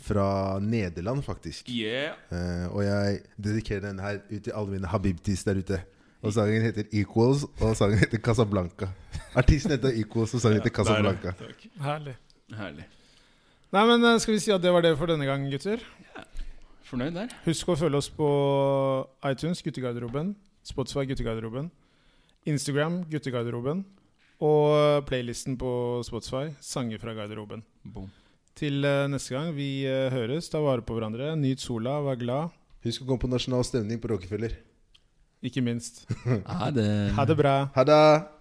Speaker 3: Fra Nederland, faktisk.
Speaker 1: Yeah.
Speaker 3: Eh, og jeg dedikerer denne her ut til alle mine habibtis der ute. Og sangen heter Equals, og sangen heter Casablanca. Artisten heter Equals, og sangen heter Casablanca.
Speaker 2: Herlig.
Speaker 1: Herlig.
Speaker 2: Nei, men eh, Skal vi si at det var det for denne gang, gutter?
Speaker 1: Fornøyd der?
Speaker 2: Husk å følge oss på iTunes, Guttegarderoben. Spotify, Guttegarderoben. Instagram, Guttegarderoben. Og playlisten på Spotify, Sanger fra garderoben.
Speaker 1: Boom.
Speaker 2: Til eh, neste gang vi eh, høres, ta vare på hverandre. Nyt sola, vær glad.
Speaker 3: Husk å komme på nasjonal stemning på Rockefeller.
Speaker 2: Ikke minst.
Speaker 1: Ha det.
Speaker 2: Ha det bra.
Speaker 3: Ha det!